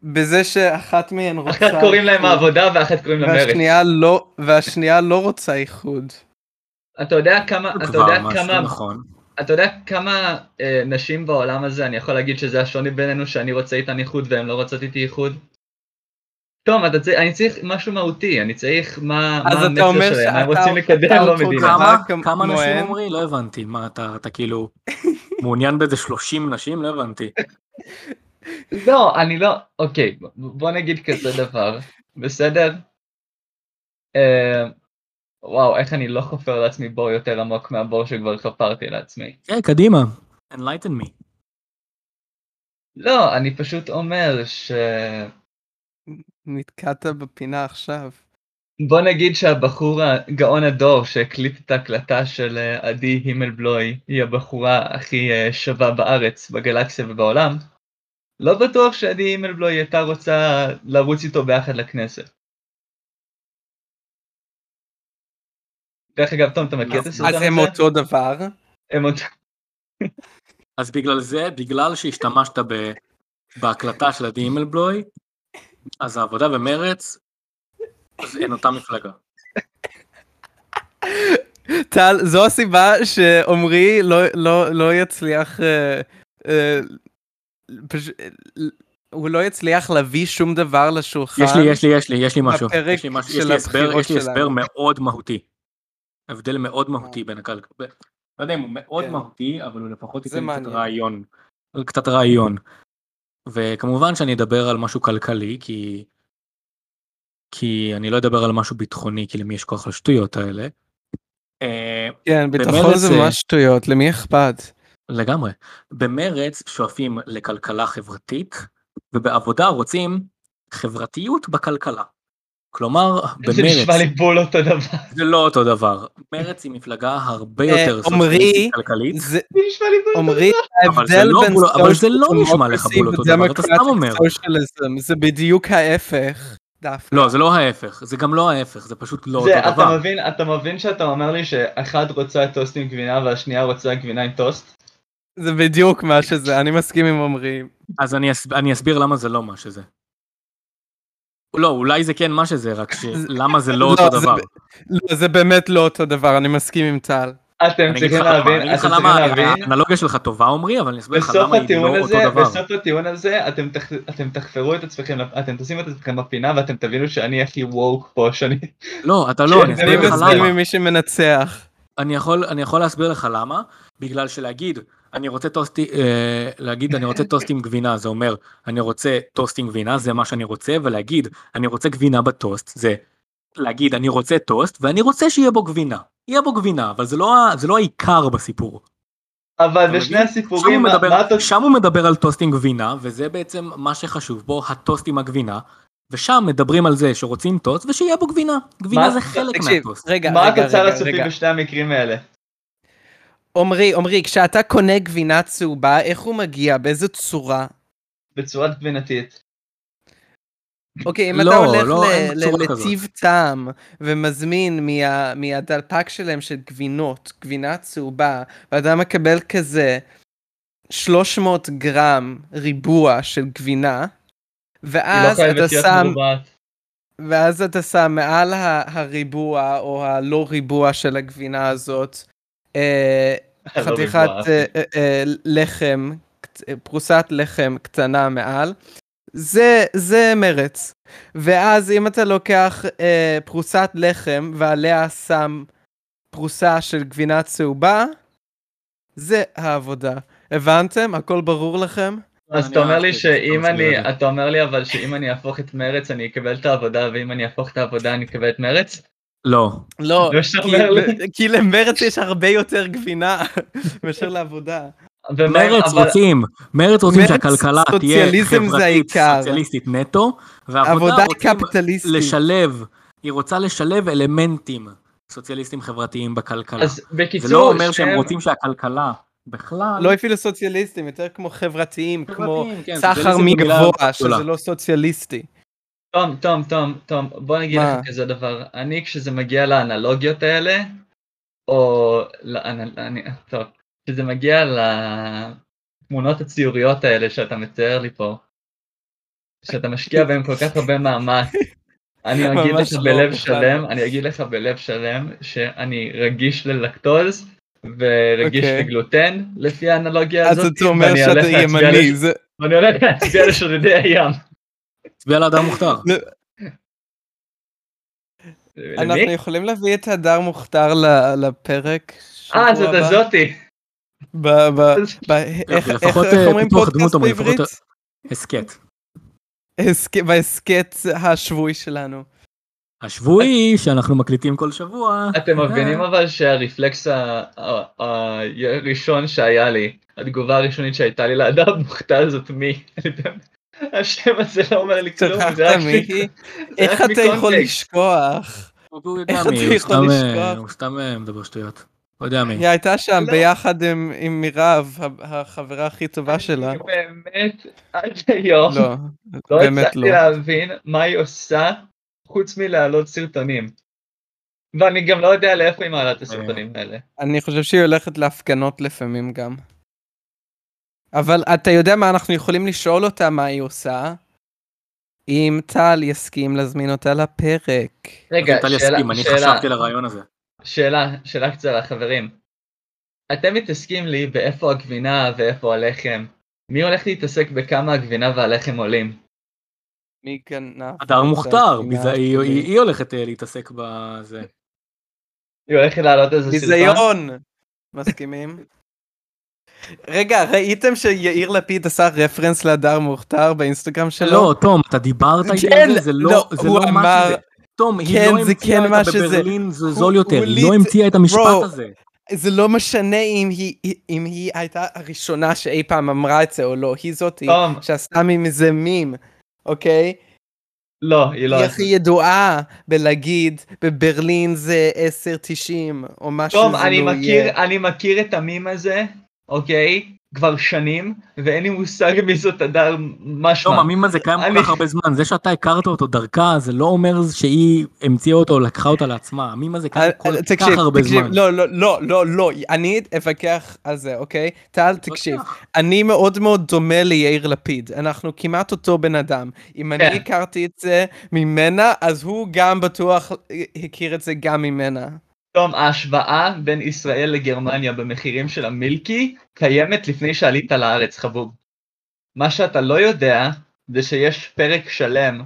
[SPEAKER 2] בזה שאחת מהן רוצה...
[SPEAKER 3] אחת קוראים להם
[SPEAKER 2] איחוד,
[SPEAKER 3] העבודה ואחת קוראים להם מרץ.
[SPEAKER 2] והשנייה לא, והשנייה לא רוצה איחוד.
[SPEAKER 3] אתה יודע כמה, אתה
[SPEAKER 1] כבר
[SPEAKER 3] יודע
[SPEAKER 1] משהו,
[SPEAKER 3] כמה,
[SPEAKER 1] נכון.
[SPEAKER 3] אתה יודע כמה אה, נשים בעולם הזה, אני יכול להגיד שזה השוני בינינו, שאני רוצה איתן איחוד והן לא רוצות איתי איחוד? תום, אתה צריך, אני צריך משהו מהותי, אני צריך מה,
[SPEAKER 2] אז
[SPEAKER 3] מה
[SPEAKER 2] אתה
[SPEAKER 3] המסר
[SPEAKER 2] אומר
[SPEAKER 3] שלהם, מה הם
[SPEAKER 2] שאתה-
[SPEAKER 3] רוצים לקדם
[SPEAKER 2] אתה
[SPEAKER 3] לא
[SPEAKER 2] אותו
[SPEAKER 3] מדינה.
[SPEAKER 2] דבר.
[SPEAKER 1] כמה,
[SPEAKER 2] כמ-
[SPEAKER 1] כמה נשים
[SPEAKER 2] כמוהן?
[SPEAKER 1] אומרי? לא הבנתי. מה, אתה, אתה כאילו מעוניין באיזה 30 נשים? לא הבנתי.
[SPEAKER 3] לא, אני לא, אוקיי, ב- בוא נגיד כזה דבר, בסדר? אה, וואו, איך אני לא חופר לעצמי בור יותר עמוק מהבור שכבר חפרתי לעצמי.
[SPEAKER 1] כן, קדימה. Enlighten me.
[SPEAKER 3] לא, אני פשוט אומר ש...
[SPEAKER 2] נתקעת בפינה עכשיו.
[SPEAKER 3] בוא נגיד שהבחור הגאון הדור שהקליט את ההקלטה של אה, עדי הימלבלוי, היא הבחורה הכי אה, שווה בארץ, בגלקסיה ובעולם, לא בטוח שעדי הימלבלוי הייתה רוצה לרוץ איתו ביחד לכנסת. דרך אגב, תום, אתה מכיר
[SPEAKER 1] אז-
[SPEAKER 3] את הסרטון
[SPEAKER 2] אז
[SPEAKER 3] הזה?
[SPEAKER 2] הם אותו דבר?
[SPEAKER 3] הם אותו...
[SPEAKER 1] אז בגלל זה, בגלל שהשתמשת ב, בהקלטה של עדי הימלבלוי, אז העבודה ומרץ, אז אין אותה מפלגה.
[SPEAKER 2] טל, זו הסיבה שעמרי לא, לא, לא יצליח... אה, אה, פש- הוא לא יצליח להביא שום דבר לשולחן.
[SPEAKER 1] יש לי, יש לי, יש לי, יש לי משהו.
[SPEAKER 2] בפרק
[SPEAKER 1] יש לי משהו-
[SPEAKER 2] של
[SPEAKER 1] יש לי הסבר,
[SPEAKER 2] הבחירות
[SPEAKER 1] יש לי הסבר
[SPEAKER 2] שלנו.
[SPEAKER 1] מאוד מהותי. הבדל מאוד מהותי בין הקל... ב- לא יודע אם הוא מאוד
[SPEAKER 2] כן.
[SPEAKER 1] מהותי, אבל הוא לפחות
[SPEAKER 2] זה
[SPEAKER 1] ייתן לי קצת
[SPEAKER 2] מעניין.
[SPEAKER 1] רעיון. קצת רעיון. וכמובן שאני אדבר על משהו כלכלי, כי... כי אני לא אדבר על משהו ביטחוני, כי למי יש כוח לשטויות האלה. אה,
[SPEAKER 2] כן, ביטחון
[SPEAKER 1] במרץ,
[SPEAKER 2] זה
[SPEAKER 1] אה,
[SPEAKER 2] ממש שטויות, למי אכפת?
[SPEAKER 1] לגמרי. במרץ שואפים לכלכלה חברתית, ובעבודה רוצים חברתיות בכלכלה. כלומר, במרץ...
[SPEAKER 3] זה נשמע לי בול אותו דבר.
[SPEAKER 1] זה לא אותו דבר. מרצ היא מפלגה הרבה
[SPEAKER 2] אה,
[SPEAKER 1] יותר
[SPEAKER 2] עמרי,
[SPEAKER 1] סוציאליסטית כלכלית,
[SPEAKER 2] זה-
[SPEAKER 3] זה נשמע לי בול אותו דבר.
[SPEAKER 2] עמרי,
[SPEAKER 1] אבל זה
[SPEAKER 2] ההבדל
[SPEAKER 1] לא
[SPEAKER 2] בין
[SPEAKER 1] בול- אבל זה לא
[SPEAKER 2] social
[SPEAKER 1] נשמע לך בול אותו
[SPEAKER 2] democracy
[SPEAKER 1] דבר, אתה סתם
[SPEAKER 2] ו-democratic
[SPEAKER 1] אומר.
[SPEAKER 2] socialism, זה בדיוק ההפך. דווקא.
[SPEAKER 1] לא, זה לא ההפך, זה גם לא ההפך, זה פשוט לא
[SPEAKER 3] זה,
[SPEAKER 1] אותו
[SPEAKER 3] אתה
[SPEAKER 1] דבר.
[SPEAKER 3] מבין, אתה מבין שאתה אומר לי שאחד רוצה טוסט עם גבינה והשנייה רוצה גבינה עם טוסט?
[SPEAKER 2] זה בדיוק מה שזה, אני מסכים עם עמרי.
[SPEAKER 1] אז אני אס- אני אסביר למה זה לא מה שזה. לא, אולי זה כן מה שזה, רק שלמה זה לא
[SPEAKER 2] לא,
[SPEAKER 1] אותו
[SPEAKER 2] זה
[SPEAKER 1] דבר.
[SPEAKER 2] לא, זה באמת לא אותו דבר, אני מסכים עם טל.
[SPEAKER 3] אתם
[SPEAKER 1] אני אגיד לך
[SPEAKER 3] צריכים
[SPEAKER 1] למה,
[SPEAKER 3] להבין,
[SPEAKER 1] אני אגיד לך
[SPEAKER 3] אתם צריכים
[SPEAKER 1] למה
[SPEAKER 3] להבין,
[SPEAKER 1] האנלוגיה שלך טובה עמרי, אבל אני אסביר לך
[SPEAKER 3] בסוף
[SPEAKER 1] למה היא
[SPEAKER 3] הטיעון
[SPEAKER 1] לא אותו
[SPEAKER 3] הזה,
[SPEAKER 1] דבר.
[SPEAKER 3] בסוף הטיעון הזה, אתם תח- אתם תחפרו את עצמכם, לפ- אתם תשימו את עצמכם בפינה ואתם תבינו שאני הכי ווק פה, שאני...
[SPEAKER 1] לא, אתה לא, אני
[SPEAKER 3] שאני
[SPEAKER 2] אני
[SPEAKER 1] אסביר לך
[SPEAKER 2] מסכים
[SPEAKER 1] למה.
[SPEAKER 2] עם מי שמנצח.
[SPEAKER 1] אני יכול, אני יכול להסביר לך למה, בגלל שלהגיד, אני רוצה טוסט, אה, להגיד אני רוצה טוסט עם גבינה, זה אומר, אני רוצה טוסט עם גבינה, זה מה שאני רוצה, ולהגיד, אני רוצה גבינה בטוסט, זה להגיד, אני רוצה טוסט, ואני רוצה שיהיה בו גבינה. יהיה בו גבינה, אבל זה לא, ה- זה לא העיקר בסיפור. אתה
[SPEAKER 3] אבל בשני
[SPEAKER 1] מבין? שם הוא,
[SPEAKER 3] הסיפורים, מה-
[SPEAKER 1] מדבר,
[SPEAKER 3] מה אתה...
[SPEAKER 1] שם הוא מדבר על טוסט עם גבינה, וזה בעצם מה שחשוב בו, הטוסט עם הגבינה, ושם מדברים על זה שרוצים טוסט, ושיהיה בו גבינה. גבינה
[SPEAKER 3] מה-
[SPEAKER 1] זה חלק
[SPEAKER 2] תקשיב,
[SPEAKER 1] מהטוסט.
[SPEAKER 2] רגע,
[SPEAKER 3] מה
[SPEAKER 2] רגע,
[SPEAKER 3] התוצר
[SPEAKER 2] רגע,
[SPEAKER 3] הסופי
[SPEAKER 2] רגע.
[SPEAKER 3] בשני המקרים האלה?
[SPEAKER 2] עמרי, עמרי, כשאתה קונה גבינה צהובה, איך הוא מגיע? באיזה צורה?
[SPEAKER 3] בצורה גבינתית.
[SPEAKER 2] אוקיי, אם
[SPEAKER 1] לא,
[SPEAKER 2] אתה הולך
[SPEAKER 1] לא, אין
[SPEAKER 2] ל-
[SPEAKER 1] צורה
[SPEAKER 2] ל-
[SPEAKER 1] כזאת.
[SPEAKER 2] לטיב טעם ומזמין מה- מהדלפק שלהם של גבינות, גבינה צהובה, ואתה מקבל כזה 300 גרם ריבוע של גבינה,
[SPEAKER 3] היא לא
[SPEAKER 2] ואז אתה
[SPEAKER 3] חייבת להיות
[SPEAKER 2] שם,
[SPEAKER 3] מרובעת.
[SPEAKER 2] ואז אתה שם מעל ה- הריבוע או הלא ריבוע של הגבינה הזאת, אה,
[SPEAKER 3] לא
[SPEAKER 2] חתיכת
[SPEAKER 3] מרובעת.
[SPEAKER 2] אה, אה, אה, לחם, קט- אה, פרוסת לחם קטנה מעל, זה, זה מרץ. ואז אם אתה לוקח אה, פרוסת לחם ועליה שם פרוסה של גבינה צהובה, זה העבודה. הבנתם? הכל ברור לכם?
[SPEAKER 3] אז
[SPEAKER 1] אני
[SPEAKER 3] אתה אומר
[SPEAKER 1] אהבתי
[SPEAKER 3] לי
[SPEAKER 1] את זה,
[SPEAKER 3] שאם
[SPEAKER 1] כמה שאני
[SPEAKER 3] אני,
[SPEAKER 1] יודע.
[SPEAKER 3] אתה אומר לי אבל שאם אני אהפוך את מרץ אני אקבל את העבודה, ואם אני אהפוך את העבודה אני אקבל את מרץ?
[SPEAKER 1] לא,
[SPEAKER 2] לא,
[SPEAKER 3] זה מה שאתה
[SPEAKER 2] כי,
[SPEAKER 3] אומר לי.
[SPEAKER 2] כי למרץ יש הרבה יותר גבינה מאשר לעבודה.
[SPEAKER 3] ומה אם-
[SPEAKER 1] מרץ
[SPEAKER 3] אבל-
[SPEAKER 1] רוצים, מרץ רוצים
[SPEAKER 2] מרץ,
[SPEAKER 1] שהכלכלה תהיה
[SPEAKER 2] סוציאליזם זה
[SPEAKER 1] חברתית
[SPEAKER 2] העיקר.
[SPEAKER 1] סוציאליסטית נטו,
[SPEAKER 2] עבודה
[SPEAKER 1] והעבודה
[SPEAKER 2] היא
[SPEAKER 1] רוצים
[SPEAKER 2] קפיטליסטית.
[SPEAKER 1] לשלב, היא רוצה לשלב אלמנטים סוציאליסטיים חברתיים בכלכלה.
[SPEAKER 3] אז בקיצור,
[SPEAKER 1] זה לא אומר שהם
[SPEAKER 3] שניהם-
[SPEAKER 1] רוצים שהכלכלה בכלל,
[SPEAKER 2] לא אפילו סוציאליסטים, יותר כמו חברתיים, כמו
[SPEAKER 1] חברתיים, כן,
[SPEAKER 2] סחר
[SPEAKER 1] סוציאליזם במילה
[SPEAKER 2] מגבוה,
[SPEAKER 1] גדולה.
[SPEAKER 2] שזה לא סוציאליסטי.
[SPEAKER 3] תום, תום, תום, תום, בוא נגיד
[SPEAKER 2] מה?
[SPEAKER 3] לך כזה דבר, אני כשזה מגיע לאנלוגיות האלה, או, לא, אני- אני- טוב, כשזה מגיע לתמונות הציוריות האלה שאתה מצייר לי פה, שאתה משקיע בהן כל כך הרבה מאמץ, אני אגיד
[SPEAKER 2] ממש
[SPEAKER 3] לך
[SPEAKER 2] לא,
[SPEAKER 3] בלב
[SPEAKER 2] בכלל
[SPEAKER 3] שלם,
[SPEAKER 2] לא.
[SPEAKER 3] אני אגיד לך בלב שלם שאני רגיש ללקטוז, ורגיש
[SPEAKER 2] אוקיי.
[SPEAKER 3] לגלוטן, לפי האנלוגיה
[SPEAKER 2] אז
[SPEAKER 3] הזאת.
[SPEAKER 2] אתה אומר
[SPEAKER 3] ואני
[SPEAKER 2] שאתה
[SPEAKER 3] הולך להצביע
[SPEAKER 2] ימני,
[SPEAKER 3] לש-
[SPEAKER 2] זה-
[SPEAKER 3] ואני הולך להצביע לשודדי הים.
[SPEAKER 1] תצביע להדר מוכתר.
[SPEAKER 2] אנחנו
[SPEAKER 3] למי?
[SPEAKER 2] יכולים להביא את הדר מוכתר ל- לפרק? שבוע
[SPEAKER 3] אה, זאת
[SPEAKER 2] הבא?
[SPEAKER 3] הזאתי.
[SPEAKER 2] ב- ב- ב- איך איך-
[SPEAKER 1] לפחות,
[SPEAKER 2] איך
[SPEAKER 1] אה,
[SPEAKER 2] אומרים
[SPEAKER 1] פיתוח
[SPEAKER 2] פודקאסט
[SPEAKER 1] דמות, אבל לפחות-
[SPEAKER 2] בעברית?
[SPEAKER 1] הסכת.
[SPEAKER 2] הסכ- בהסכת השבועי שלנו.
[SPEAKER 3] לא,
[SPEAKER 1] השבועי שאנחנו מקליטים כל שבוע. אה,
[SPEAKER 3] אתם מבינים אבל שהרפלקס ה- ה- ה- הראשון שהיה לי, התגובה הראשונית שהייתה לי לאדם מוכתר זאת מי. אני באמת- השם הזה לא אומר לי כלום,
[SPEAKER 2] שכחת
[SPEAKER 3] זה רק זה
[SPEAKER 2] מיהי? איך
[SPEAKER 3] רק
[SPEAKER 2] אתה יכול
[SPEAKER 3] מקונטקסט.
[SPEAKER 2] לשכוח?
[SPEAKER 1] הוא
[SPEAKER 2] איך
[SPEAKER 1] יודע
[SPEAKER 2] אתה
[SPEAKER 1] מי,
[SPEAKER 2] יכול
[SPEAKER 1] הוא סתם, אה,
[SPEAKER 2] לשכוח?
[SPEAKER 1] הוא סתם אה, מדבר שטויות. הוא יודע מי.
[SPEAKER 2] היא הייתה שם
[SPEAKER 3] לא.
[SPEAKER 2] ביחד עם עם מירב, ה- החברה הכי טובה שלה.
[SPEAKER 3] אני באמת, עד היום,
[SPEAKER 2] לא,
[SPEAKER 3] לא
[SPEAKER 2] באמת
[SPEAKER 3] הצלחתי
[SPEAKER 2] לא.
[SPEAKER 3] להבין מה היא עושה חוץ מלהעלות סרטונים. ואני גם לא יודע לאיפה היא מעלה את הסרטונים
[SPEAKER 1] אה.
[SPEAKER 3] האלה.
[SPEAKER 2] אני חושב שהיא הולכת להפגנות לפעמים גם. אבל אתה יודע מה, אנחנו יכולים לשאול אותה מה היא עושה, אם טל יסכים להזמין אותה לפרק.
[SPEAKER 3] רגע,
[SPEAKER 1] טל
[SPEAKER 3] שאלה,
[SPEAKER 1] יסכים, אני
[SPEAKER 3] שאלה,
[SPEAKER 1] חשבתי על הרעיון הזה.
[SPEAKER 3] שאלה, שאלה קצרה, חברים. אתם מתעסקים לי באיפה הגבינה ואיפה הלחם. מי הולך להתעסק בכמה הגבינה והלחם עולים?
[SPEAKER 2] מי גנב?
[SPEAKER 1] הדר
[SPEAKER 2] את
[SPEAKER 1] מוכתר,
[SPEAKER 2] הגבינה
[SPEAKER 1] ביזה- היא-
[SPEAKER 2] שלי?
[SPEAKER 1] היא היא הולכת אה, להתעסק בזה.
[SPEAKER 3] היא הולכת להעלות איזה סרטון?
[SPEAKER 2] ביזיון! מסכימים? רגע, ראיתם שיאיר לפיד עשה רפרנס להדר מוכתר באינסטגרם שלו?
[SPEAKER 1] לא, תום, אתה דיברת איתי
[SPEAKER 2] כן,
[SPEAKER 1] על זה, זה לא
[SPEAKER 2] לא,
[SPEAKER 1] זה
[SPEAKER 2] הוא
[SPEAKER 1] לא מה
[SPEAKER 2] אמר-
[SPEAKER 1] שזה. תום, היא
[SPEAKER 2] כן,
[SPEAKER 1] לא
[SPEAKER 2] זה כן
[SPEAKER 1] המציאה
[SPEAKER 2] מה
[SPEAKER 1] את
[SPEAKER 2] שזה.
[SPEAKER 1] הבברלין זה
[SPEAKER 2] הוא-
[SPEAKER 1] זול יותר,
[SPEAKER 2] הוא
[SPEAKER 1] היא לא
[SPEAKER 2] ליט-
[SPEAKER 1] המציאה את המשפט
[SPEAKER 2] ברו,
[SPEAKER 1] הזה.
[SPEAKER 2] זה לא משנה אם היא, אם היא הייתה הראשונה שאי פעם אמרה את זה או לא, היא זאתי
[SPEAKER 3] תום,
[SPEAKER 2] שעשתה מזה מים, אוקיי?
[SPEAKER 3] לא, היא לא...
[SPEAKER 2] היא הכי ידועה בלהגיד בברלין זה 10.90 או משהו
[SPEAKER 3] תום,
[SPEAKER 2] זה
[SPEAKER 3] אני
[SPEAKER 2] לא יהיה.
[SPEAKER 3] מכיר, אני מכיר את המים הזה, אוקיי? כבר שנים, ואין לי מושג מי זאת הדר משמע.
[SPEAKER 1] תום, המים הזה קיים כל
[SPEAKER 3] אני-
[SPEAKER 1] כך הרבה זמן, זה שאתה הכרת אותו דרכה, זה לא אומר שהיא המציאה אותו או לקחה אותו לעצמה, המים הזה קיים כל כך
[SPEAKER 2] אה, תקשיב,
[SPEAKER 1] הרבה
[SPEAKER 2] תקשיב,
[SPEAKER 1] זמן.
[SPEAKER 2] לא, לא, לא, לא, לא, אני אבקח על זה, אוקיי? טל, תקשיב, אני מאוד מאוד דומה ליאיר לפיד, אנחנו כמעט אותו בן אדם. אם אני
[SPEAKER 3] כן.
[SPEAKER 2] הכרתי את זה ממנה, אז הוא גם בטוח הכיר את זה גם ממנה.
[SPEAKER 3] תום, ההשוואה בין ישראל לגרמניה במחירים של המילקי קיימת לפני שעלית לארץ, חבוב. מה שאתה לא יודע, זה שיש פרק שלם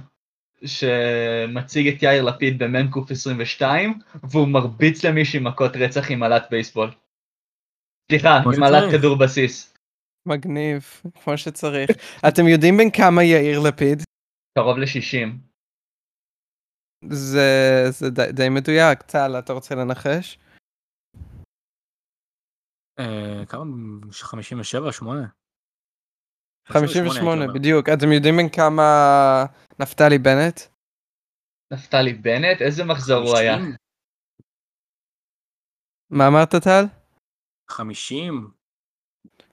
[SPEAKER 3] שמציג את יאיר לפיד במ"ק 22, והוא מרביץ למישהי מכות רצח עם מל"ט בייסבול. סליחה,
[SPEAKER 1] כמו
[SPEAKER 3] עם מל"ט
[SPEAKER 1] שצריך.
[SPEAKER 3] כדור בסיס.
[SPEAKER 2] מגניב, כמו שצריך. אתם יודעים בן כמה יאיר לפיד?
[SPEAKER 3] קרוב ל-60.
[SPEAKER 2] זה, זה די, די מדויק. טל, אתה רוצה לנחש?
[SPEAKER 1] אה, כמה? 57? 8?
[SPEAKER 2] 58, בדיוק. אתם יודעים בן כמה נפתלי בנט?
[SPEAKER 3] נפתלי בנט, איזה מחזור הוא היה?
[SPEAKER 2] מה אמרת, טל?
[SPEAKER 1] 50?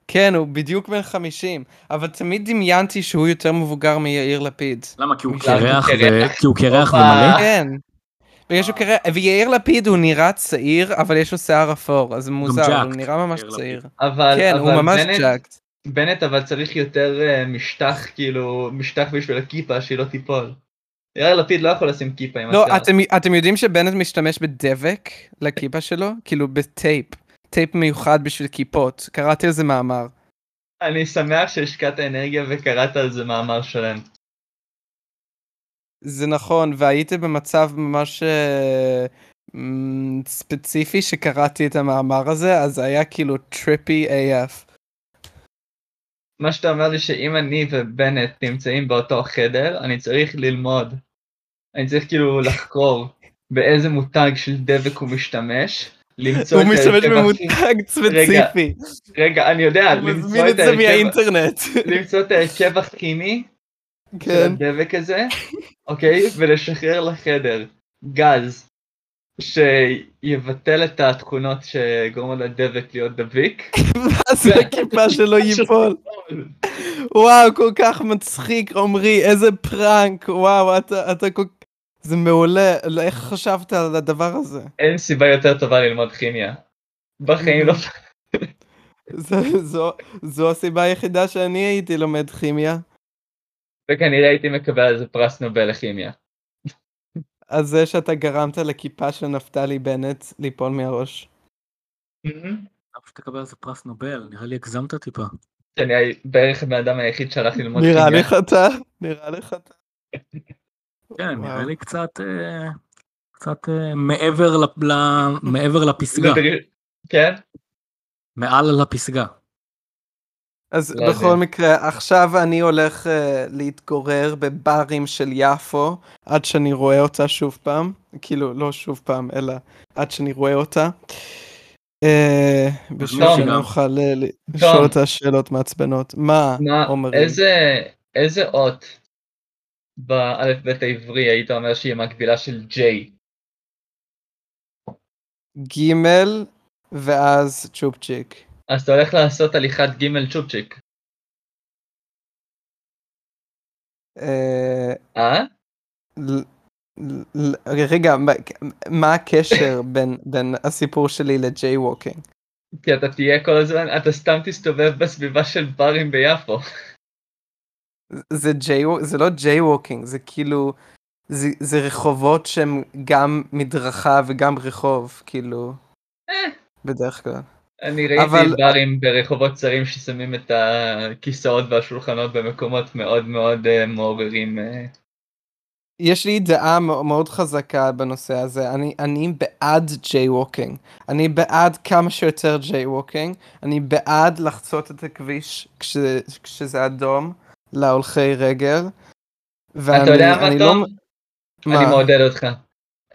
[SPEAKER 2] כן, הוא בדיוק בן 50, אבל תמיד דמיינתי שהוא יותר מבוגר מיאיר לפיד.
[SPEAKER 1] למה? כי הוא
[SPEAKER 2] מישהו-
[SPEAKER 1] קרח
[SPEAKER 3] הוא
[SPEAKER 1] ו-
[SPEAKER 3] קרח.
[SPEAKER 1] כי הוא קרח
[SPEAKER 3] הופה.
[SPEAKER 1] ומלא?
[SPEAKER 2] כן. בגלל שהוא כרגע, ויאיר לפיד הוא נראה צעיר, אבל יש לו שיער אפור, אז זה מוזר, הוא
[SPEAKER 1] jacked,
[SPEAKER 2] נראה ממש
[SPEAKER 1] יאיר לפיד.
[SPEAKER 2] צעיר.
[SPEAKER 3] אבל,
[SPEAKER 2] כן,
[SPEAKER 3] אבל
[SPEAKER 2] הוא ממש
[SPEAKER 3] בנט,
[SPEAKER 2] ג'אקט.
[SPEAKER 3] בנט אבל צריך יותר אה, משטח, כאילו, משטח בשביל הכיפה, שהיא לא תיפול. יאיר לפיד לא יכול לשים כיפה עם
[SPEAKER 2] לא,
[SPEAKER 3] השיער.
[SPEAKER 2] אתם, אתם יודעים שבנט משתמש בדבק לכיפה שלו? כאילו בטייפ. טייפ מיוחד בשביל כיפות. קראתי על זה מאמר.
[SPEAKER 3] אני שמח שהשקעת אנרגיה וקראת על זה מאמר שלם.
[SPEAKER 2] זה נכון, והייתי במצב ממש אה, מ, ספציפי שקראתי את המאמר הזה, אז זה היה כאילו טריפי AF.
[SPEAKER 3] מה שאתה אומר לי שאם אני ובנט נמצאים באותו חדר, אני צריך ללמוד. אני צריך כאילו לחקור באיזה מותג של דבק הוא משתמש, למצוא
[SPEAKER 2] הוא
[SPEAKER 3] את
[SPEAKER 2] משתמש
[SPEAKER 3] ההרכב הכי-
[SPEAKER 2] במותג ספציפי.
[SPEAKER 3] רגע, אני יודע,
[SPEAKER 2] הוא
[SPEAKER 3] למצוא
[SPEAKER 2] מזמין את
[SPEAKER 3] את
[SPEAKER 2] זה
[SPEAKER 3] ההרכב-
[SPEAKER 2] מהאינטרנט.
[SPEAKER 3] למצוא את ההרכב הכימי של
[SPEAKER 2] כן.
[SPEAKER 3] הדבק הזה, אוקיי? ולשחרר לחדר גז שיבטל את התכונות שגורמות לדבק להיות דביק.
[SPEAKER 2] אז הכיפה שלו ייפול. וואו, כל כך מצחיק, עמרי, איזה פראנק, וואו, אתה, אתה כל כך... זה מעולה, לא, איך חשבת על הדבר הזה?
[SPEAKER 3] אין סיבה יותר טובה ללמוד כימיה. בחיים לא...
[SPEAKER 2] Mhm. זו, זו, זו הסיבה היחידה שאני הייתי לומד כימיה,
[SPEAKER 3] וכנראה הייתי מקבל על זה פרס נובל לכימיה.
[SPEAKER 2] על זה שאתה גרמת לכיפה של נפתלי בנט ליפול מהראש.
[SPEAKER 1] אתה פשוט תקבל על זה פרס נובל, נראה לי הגזמת טיפה.
[SPEAKER 3] שאני הי- בערך הבן אדם היחיד שהלך ללמוד
[SPEAKER 2] נראה
[SPEAKER 3] כימיה.
[SPEAKER 2] לך אתה? נראה לך אתה?
[SPEAKER 1] כן, נראה
[SPEAKER 2] וואו.
[SPEAKER 1] לי קצת... אה, קצת אה, מעבר ל- ל- מעבר לפסגה,
[SPEAKER 3] זה דריש- כן?
[SPEAKER 1] מעל לפסגה.
[SPEAKER 2] אז
[SPEAKER 3] לא יודע.
[SPEAKER 2] בכל מקרה, עכשיו אני הולך אה, להתגורר בברים של יפו, עד שאני רואה אותה שוב פעם. כאילו, לא שוב פעם, אלא עד שאני רואה אותה. אה, בשביל
[SPEAKER 3] תום.
[SPEAKER 2] שאני אוכל אה, ל- לשאול אותה שאלות מעצבנות. מה
[SPEAKER 3] מה,
[SPEAKER 2] אומרים?
[SPEAKER 3] איזה, איזה אות באלף-בית העברי היית אומר שהיא מקבילה של J?
[SPEAKER 2] ג' ואז צ'ופצ'יק.
[SPEAKER 3] אז אתה הולך לעשות הליכת ג' צ'ופצ'יק,
[SPEAKER 2] אה,
[SPEAKER 3] אה?
[SPEAKER 2] ל- ל- ל- רגע, מה- מה הקשר בין- בין הסיפור שלי לג'יי ווקינג?
[SPEAKER 3] כי אתה תהיה כל הזמן, אתה סתם תסתובב בסביבה של ברים ביפו.
[SPEAKER 2] זה ג'יי זה לא ג'יי ווקינג זה כאילו זה, זה רחובות שהם גם מדרכה וגם רחוב כאילו
[SPEAKER 3] אה.
[SPEAKER 2] בדרך כלל
[SPEAKER 3] אני ראיתי
[SPEAKER 2] אבל-
[SPEAKER 3] ברים ברחובות צרים ששמים את הכיסאות והשולחנות במקומות מאוד מאוד אה, מעוררים. אה.
[SPEAKER 2] יש לי דעה מאו- מאוד חזקה בנושא הזה אני אני בעד ג'יי ווקינג אני בעד כמה שיותר ג'יי ווקינג אני בעד לחצות את הכביש כש, כשזה אדום להולכי רגל. ואני,
[SPEAKER 3] אתה יודע מה
[SPEAKER 2] אני לא
[SPEAKER 3] תום?
[SPEAKER 2] מה?
[SPEAKER 3] אני מעודד אותך.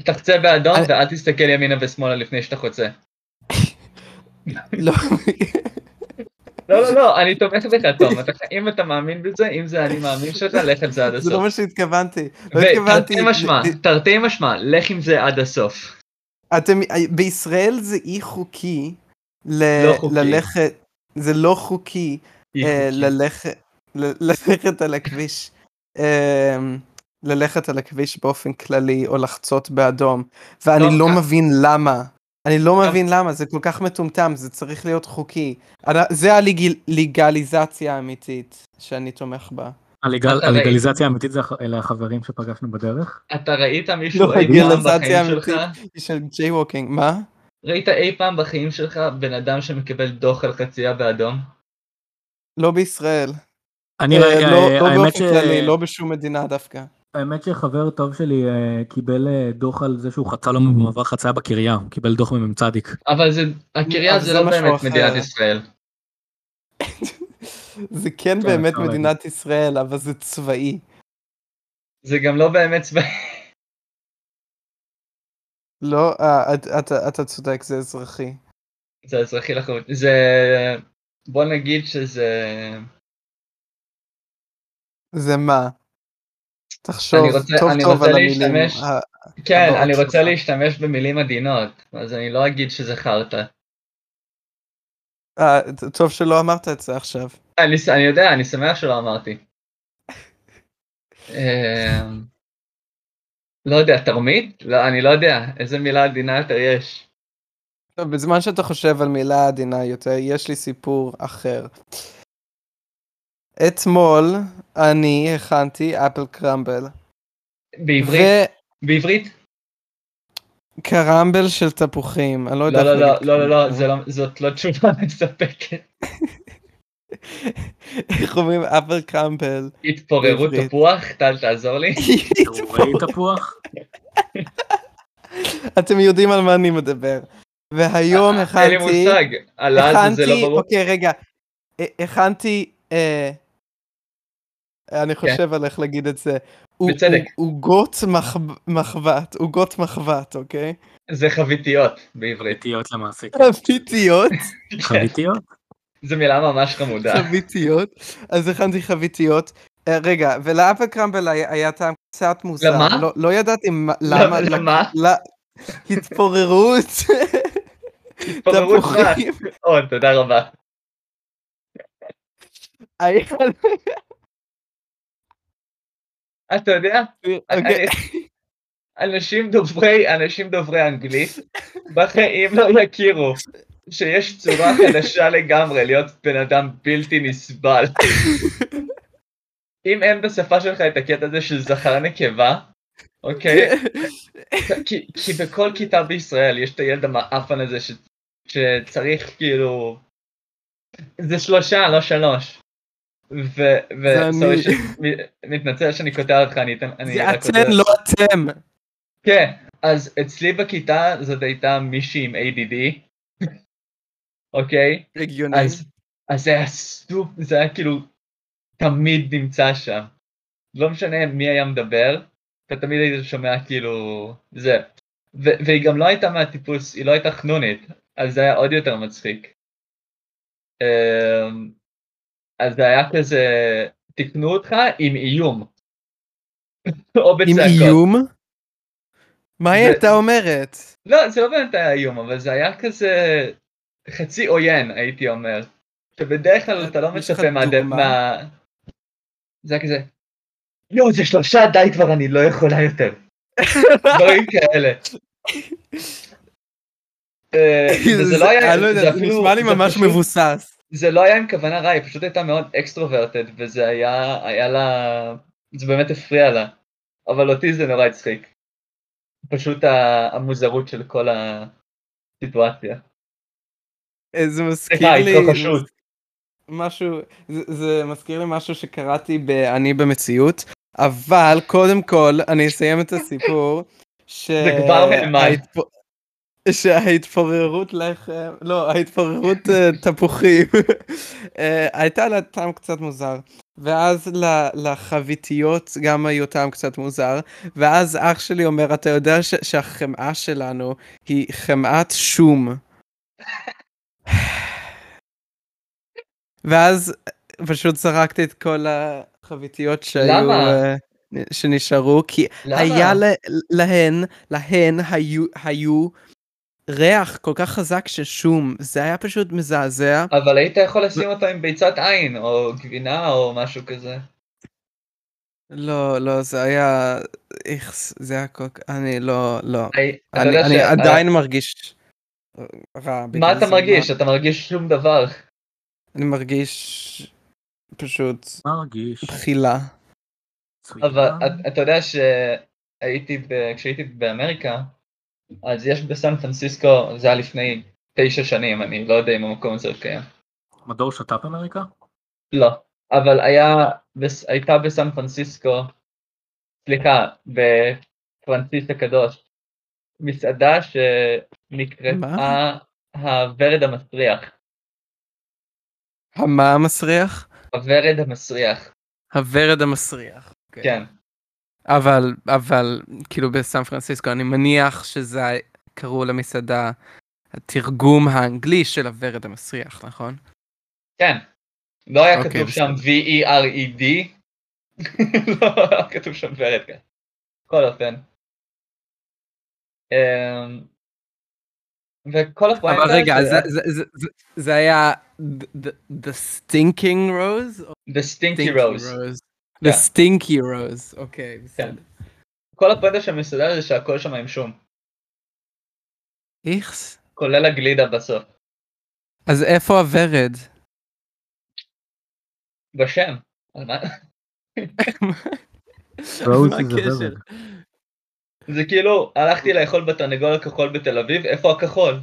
[SPEAKER 3] תחצה באדום
[SPEAKER 2] אני-
[SPEAKER 3] ואל תסתכל ימינה ושמאלה לפני שאתה חוצה.
[SPEAKER 2] לא,
[SPEAKER 3] לא, לא, לא, אני תומך בך, תום. אתה- אם אתה מאמין בזה, אם זה אני מאמין שלך, לך על זה עד
[SPEAKER 2] זה לא
[SPEAKER 3] הסוף.
[SPEAKER 2] מה שהתכוונתי. לא התכוונתי.
[SPEAKER 3] ותרתי משמע, תרתי משמע, לך עם זה עד הסוף.
[SPEAKER 2] אתם, בישראל זה אי חוקי, ל,
[SPEAKER 3] לא חוקי.
[SPEAKER 2] ללכת, זה לא חוקי, אה,
[SPEAKER 1] אוקיי.
[SPEAKER 2] ללכת, ל- ללכת על הכביש, אה, ללכת על הכביש באופן כללי או לחצות באדום, ואני
[SPEAKER 3] טוב,
[SPEAKER 2] לא
[SPEAKER 3] אה.
[SPEAKER 2] מבין למה. אני לא
[SPEAKER 3] טוב.
[SPEAKER 2] מבין למה, זה כל כך מטומטם, זה צריך להיות חוקי. אנ- זה הלגליזציה האמיתית שאני תומך בה.
[SPEAKER 1] הלגל-
[SPEAKER 2] אה,
[SPEAKER 3] אתה ראית.
[SPEAKER 1] הלגליזציה האמיתית זה הח- אלה החברים שפגשנו בדרך.
[SPEAKER 3] אתה ראית מישהו
[SPEAKER 2] לא,
[SPEAKER 3] אי פעם
[SPEAKER 2] הגלזציה
[SPEAKER 3] בחיים
[SPEAKER 2] האמיתית.
[SPEAKER 3] שלך?
[SPEAKER 2] של ג'יי ווקינג, מה?
[SPEAKER 3] ראית אי פעם בחיים שלך בן אדם שמקבל דוח על חצייה באדום?
[SPEAKER 2] לא בישראל.
[SPEAKER 1] אני,
[SPEAKER 2] אה,
[SPEAKER 1] אה,
[SPEAKER 2] לא-
[SPEAKER 1] אה,
[SPEAKER 2] לא
[SPEAKER 1] האמת
[SPEAKER 2] באופן
[SPEAKER 1] ש-
[SPEAKER 2] כללי, לא בשום מדינה דווקא.
[SPEAKER 1] האמת שחבר טוב שלי אה, קיבל אה, דוח על זה שהוא חצה לו במעבר חצייה בקריה, הוא קיבל דוח ממ"מ צדיק.
[SPEAKER 3] אבל זה, הקריה
[SPEAKER 2] אבל
[SPEAKER 3] זה
[SPEAKER 2] זה
[SPEAKER 3] לא
[SPEAKER 2] משהו
[SPEAKER 3] באמת
[SPEAKER 2] אחר.
[SPEAKER 3] מדינת ישראל.
[SPEAKER 2] זה כן
[SPEAKER 1] כן,
[SPEAKER 2] באמת
[SPEAKER 1] אפשר
[SPEAKER 2] מדינת ישראל, אבל זה צבאי.
[SPEAKER 3] זה גם לא באמת צבא...
[SPEAKER 2] לא, אה, את- אתה- אתה צודק, זה אזרחי.
[SPEAKER 3] זה אזרחי לחלוטין. זה... בוא נגיד שזה...
[SPEAKER 2] זה מה? תחשוב
[SPEAKER 3] אני רוצה-
[SPEAKER 2] טוב
[SPEAKER 3] אני
[SPEAKER 2] טוב
[SPEAKER 3] רוצה
[SPEAKER 2] על המילים. אה,
[SPEAKER 3] להשתמש-
[SPEAKER 2] ה-
[SPEAKER 3] כן,
[SPEAKER 2] הבאות
[SPEAKER 3] אני רוצה
[SPEAKER 2] שלך.
[SPEAKER 3] להשתמש במילים עדינות, אז אני לא אגיד שזה חרטא.
[SPEAKER 2] אה, ט- טוב שלא אמרת את זה עכשיו.
[SPEAKER 3] אני, ס- אני יודע, אני שמח שלא אמרתי. אמ, לא יודע, תרמית? לא, אני לא יודע, איזה מילה עדינה יותר יש.
[SPEAKER 2] טוב, בזמן שאתה חושב על מילה עדינה יותר, יש לי סיפור אחר. אתמול אני הכנתי אפל קרמבל.
[SPEAKER 3] בעברית?
[SPEAKER 2] בעברית? קרמבל של תפוחים, אני לא יודע.
[SPEAKER 3] לא, לא,
[SPEAKER 2] איך
[SPEAKER 3] לא,
[SPEAKER 2] להגיד
[SPEAKER 3] לא, לא, לא,
[SPEAKER 2] קרמבל.
[SPEAKER 3] זה לא- זאת לא תשובה מספקת. לא.
[SPEAKER 2] איך אומרים אפל קרמבל?
[SPEAKER 3] התפוררות
[SPEAKER 2] בעברית.
[SPEAKER 3] תפוח, טל תעזור לי.
[SPEAKER 1] תיאורי תפוח.
[SPEAKER 2] אתם יודעים על מה אני מדבר. והיום
[SPEAKER 3] אה, אין לי
[SPEAKER 2] הכנתי,
[SPEAKER 3] מושג, הלעד זה לא
[SPEAKER 2] הכנתי,
[SPEAKER 3] ברור.
[SPEAKER 2] אוקיי רגע, ה- הכנתי, אה, אני חושב על איך להגיד את זה, הוא-
[SPEAKER 3] כן. בצדק.
[SPEAKER 2] הוא- עוגות מחב- מחבת, עוגות מחבת, אוקיי?
[SPEAKER 3] זה חביתיות בעברית.
[SPEAKER 1] חביתיות למעשה. כן.
[SPEAKER 2] חביתיות, כן.
[SPEAKER 1] חביתיות?
[SPEAKER 3] זו מילה ממש חמודה.
[SPEAKER 2] חביתיות, אז הכנתי חביתיות. אה, רגע, ולאפל קרמבל היה היה טעם קצת מוזר,
[SPEAKER 3] למה?
[SPEAKER 2] לא- לא ידעתי מה- למה,
[SPEAKER 3] למה? למה?
[SPEAKER 2] ל- התפוררות,
[SPEAKER 3] התפוררות מה?
[SPEAKER 2] תפוחים.
[SPEAKER 3] עוד, תודה רבה. אה,
[SPEAKER 2] היה
[SPEAKER 3] אתה יודע, אה,
[SPEAKER 2] אוקיי.
[SPEAKER 3] אנשים דוברי, אנשים דוברי אנגלית, בחיים לא יכירו שיש צורה חדשה לגמרי להיות בן אדם בלתי נסבל. אם אין בשפה שלך את הקטע הזה של זכר נקבה, אה, אוקיי? כי, כי בכל כיתה בישראל יש את הילד המעפן הזה ש... שצריך כאילו... זה שלושה, לא שלוש. ו...
[SPEAKER 2] זה
[SPEAKER 3] ו...
[SPEAKER 2] אני.
[SPEAKER 3] סורי, ש... מ- מתנצל שאני קוטע אותך, אני אתן... אני
[SPEAKER 2] זה
[SPEAKER 3] רק רוצה-
[SPEAKER 2] אתם, לא אתם.
[SPEAKER 3] כן, אז אצלי בכיתה זאת הייתה מישהי עם ADD, אוקיי?
[SPEAKER 2] הגיוני.
[SPEAKER 3] אז, אז זה היה סופ... זה היה כאילו תמיד נמצא שם. לא משנה מי היה מדבר, אתה תמיד היית שומע כאילו זה. ו- והיא גם לא הייתה מהטיפוס, היא לא הייתה חנונית, אז זה היה עוד יותר מצחיק. אמ, אז זה היה כזה, תקנו אותך עם איום. או
[SPEAKER 2] עם
[SPEAKER 3] בצעקות.
[SPEAKER 2] איום? מה היא
[SPEAKER 3] זה-
[SPEAKER 2] הייתה אומרת?
[SPEAKER 3] לא, זה לא באמת היה איום, אבל זה היה כזה חצי עוין, הייתי אומר. שבדרך כלל אתה לא
[SPEAKER 2] יש לך
[SPEAKER 3] מצפה מהד-
[SPEAKER 2] דוגמה?
[SPEAKER 3] מה... זה היה כזה, יואו, זה שלושה, די כבר, אני לא יכולה יותר. דברים כאלה. אה, וזה לא היה,
[SPEAKER 2] אני לא יודע,
[SPEAKER 3] זה
[SPEAKER 2] זה
[SPEAKER 3] אפילו-
[SPEAKER 2] נשמע לי
[SPEAKER 3] זה
[SPEAKER 2] ממש
[SPEAKER 3] פשוט-
[SPEAKER 2] מבוסס.
[SPEAKER 3] זה לא היה עם כוונה רע, היא פשוט הייתה מאוד אקסטרוברטד, וזה היה, היה לה, זה באמת הפריע לה. אבל אותי זה נורא הצחיק. פשוט ה- המוזרות של כל הסיטואציה.
[SPEAKER 2] אה, זה מזכיר
[SPEAKER 3] סליחה, לא
[SPEAKER 2] לי
[SPEAKER 3] התרחשות.
[SPEAKER 2] משהו, זה- זה מזכיר לי משהו שקראתי ב"אני במציאות", אבל קודם כל, אני אסיים את הסיפור, ש...
[SPEAKER 3] זה כבר נאמר.
[SPEAKER 2] ההתפ- שההתפוררות לחם, לא, ההתפוררות אה, תפוחים, אה, הייתה לה טעם קצת מוזר. ואז ל- לחביתיות גם היו טעם קצת מוזר, ואז אח שלי אומר, אתה יודע ש- שהחמאה שלנו היא חמאת שום. ואז פשוט זרקתי את כל החביתיות שהיו,
[SPEAKER 3] למה?
[SPEAKER 2] אה, שנשארו, כי היה לה- להן, להן היו, היו ריח כל כך חזק של שום, זה היה פשוט מזעזע.
[SPEAKER 3] אבל היית יכול לשים אותו עם ביצת עין, או גבינה, או משהו כזה.
[SPEAKER 2] לא, לא, זה היה, איכס, זה היה כל כך, אני לא, לא.
[SPEAKER 3] הי- אתה
[SPEAKER 2] אני
[SPEAKER 3] יודע
[SPEAKER 2] אני
[SPEAKER 3] ש-
[SPEAKER 2] עדיין מרגיש אה, רע.
[SPEAKER 3] מה
[SPEAKER 2] בגלל
[SPEAKER 3] אתה
[SPEAKER 2] זה,
[SPEAKER 3] מרגיש? אתה מרגיש שום דבר.
[SPEAKER 2] אני מרגיש פשוט
[SPEAKER 1] מרגיש.
[SPEAKER 2] בחילה.
[SPEAKER 3] אבל
[SPEAKER 1] מצוין.
[SPEAKER 3] את- אתה יודע שהייתי, ב- כשהייתי באמריקה, אז יש בסן פרנסיסקו, זה היה לפני תשע שנים, אני לא יודע אם המקום הזה עוד קיים.
[SPEAKER 1] מדור שת"פ אמריקה?
[SPEAKER 3] לא, אבל היה, בס- הייתה בסן פרנסיסקו, סליחה, בפרנסיס הקדוש, מסעדה שנקראה
[SPEAKER 2] מה?
[SPEAKER 3] הוורד המסריח.
[SPEAKER 2] המה המסריח?
[SPEAKER 3] הוורד המסריח,
[SPEAKER 2] הוורד המסריח. אוקיי.
[SPEAKER 3] כן.
[SPEAKER 2] אבל, אבל, כאילו בסן פרנסיסקו, אני מניח שזה ה- קראו למסעדה התרגום האנגלי של הוורד המסריח, נכון?
[SPEAKER 3] כן. לא היה
[SPEAKER 2] אוקיי,
[SPEAKER 3] כתוב
[SPEAKER 2] בסדר.
[SPEAKER 3] שם E V-E-R-E-D. לא היה כתוב שם ורד כאן. כן. בכל אופן. אמ, וכל הפואנטה...
[SPEAKER 2] אבל רגע,
[SPEAKER 3] זה-
[SPEAKER 2] זה- זה- זה- זה- זה היה the- the- The Stinking Rose? או
[SPEAKER 3] The Stinky
[SPEAKER 2] Stinky
[SPEAKER 3] Rose.
[SPEAKER 2] Rose?
[SPEAKER 3] כן.
[SPEAKER 2] The Stinky Rose, אוקיי, בסדר.
[SPEAKER 3] כל הפואנטה של המסעדה זה שהכל שם עם שום.
[SPEAKER 2] איכס.
[SPEAKER 3] כולל הגלידה בסוף.
[SPEAKER 2] אז איפה הוורד?
[SPEAKER 3] בשם. על מה-
[SPEAKER 1] Rose
[SPEAKER 2] מה
[SPEAKER 1] is a
[SPEAKER 2] הקשר?
[SPEAKER 1] ורד.
[SPEAKER 3] זה כאילו, הלכתי
[SPEAKER 2] אוקיי.
[SPEAKER 3] לאכול בתרנגול הכחול בתל אביב, איפה הכחול?